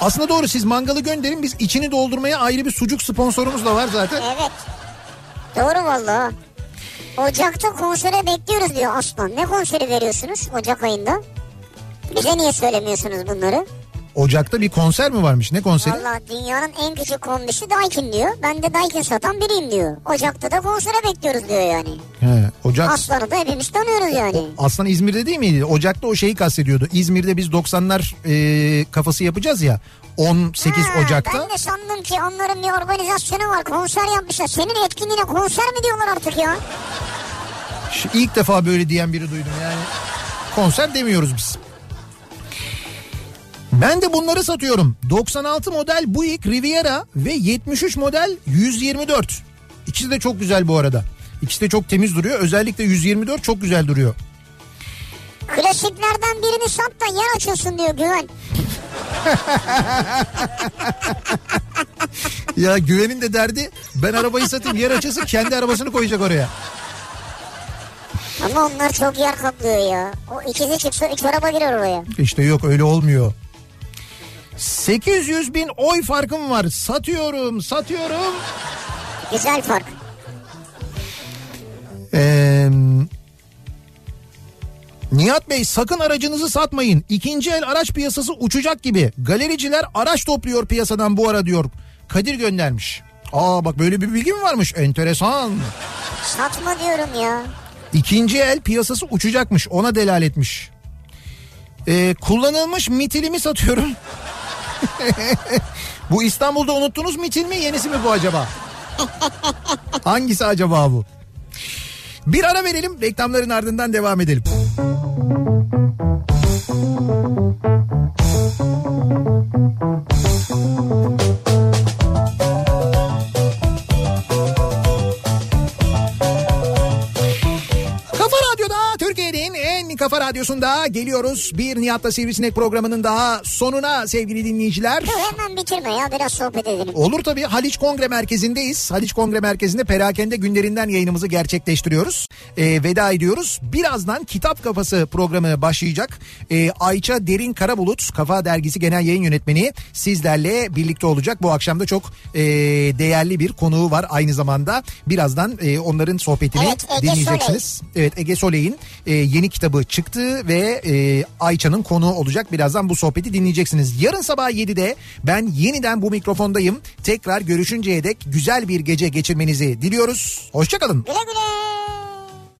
A: Aslında doğru siz mangalı gönderin biz içini doldurmaya ayrı bir sucuk sponsorumuz da var zaten.
B: Evet. Doğru valla. Ocakta konsere bekliyoruz diyor Aslan. Ne konseri veriyorsunuz Ocak ayında? Bize niye söylemiyorsunuz bunları?
A: Ocak'ta bir konser mi varmış? Ne konseri?
B: Valla dünyanın en küçük kombisi Daikin diyor. Ben de Daikin satan biriyim diyor. Ocak'ta da konsere bekliyoruz diyor yani.
A: He, Ocak.
B: Aslan'ı da hepimiz tanıyoruz yani.
A: Aslan İzmir'de değil miydi? Ocak'ta o şeyi kastediyordu. İzmir'de biz 90'lar e, kafası yapacağız ya. 18
B: Ha,
A: Ocak'ta.
B: Ben de sandım ki onların bir organizasyonu var. Konser yapmışlar. Senin etkinliğine konser mi diyorlar artık ya?
A: Şu İlk defa böyle diyen biri duydum yani. Konser demiyoruz biz. Ben de bunları satıyorum. 96 model Buick Riviera ve 73 model 124. İkisi de çok güzel bu arada. İkisi de çok temiz duruyor. Özellikle 124 çok güzel duruyor.
B: Klasiklerden birini sat da yer açılsın diyor Güven.
A: Ya güvenin de derdi ben arabayı satayım yer açası kendi arabasını koyacak oraya.
B: Ama onlar çok yer kaplıyor ya. O ikisi çıksa üç araba girer oraya.
A: İşte yok öyle olmuyor. 800 bin oy farkım var. Satıyorum, satıyorum.
B: Güzel fark.
A: Ee, Nihat Bey sakın aracınızı satmayın. İkinci el araç piyasası uçacak gibi. Galericiler araç topluyor piyasadan bu ara diyor. Kadir göndermiş. Aa bak böyle bir bilgi mi varmış? Enteresan.
B: Satma diyorum ya.
A: İkinci el piyasası uçacakmış. Ona delaletmiş. etmiş. Ee, kullanılmış mitilimi satıyorum. bu İstanbul'da unuttunuz mitil mi yenisi mi bu acaba? Hangisi acaba bu? Bir ara verelim reklamların ardından devam edelim. Kafa Radyo'da Türkiye'nin en kafa radyosunda geliyoruz. Bir Nihat'la Sivrisinek programının daha sonuna sevgili dinleyiciler.
B: Dur hemen bitirme ya biraz sohbet edelim.
A: Olur tabii. Haliç Kongre Merkezi'ndeyiz. Haliç Kongre Merkezi'nde perakende günlerinden yayınımızı gerçekleştiriyoruz. Ee, veda ediyoruz. Birazdan Kitap Kafası programı başlayacak. Ee, Ayça Derin Karabulut, Kafa Dergisi Genel Yayın Yönetmeni sizlerle birlikte olacak. Bu akşam da çok e, değerli bir konuğu var aynı zamanda. Birazdan e, onların sohbetini
B: Evet, Ege
A: dinleyeceksiniz. Evet Ege Soley'in e, yeni kitabı çıktı ve e, Ayça'nın konuğu olacak. Birazdan bu sohbeti dinleyeceksiniz. Yarın sabah 7'de ben yeniden bu mikrofondayım. Tekrar görüşünceye dek güzel bir gece geçirmenizi diliyoruz. Hoşçakalın.
B: Güle güle.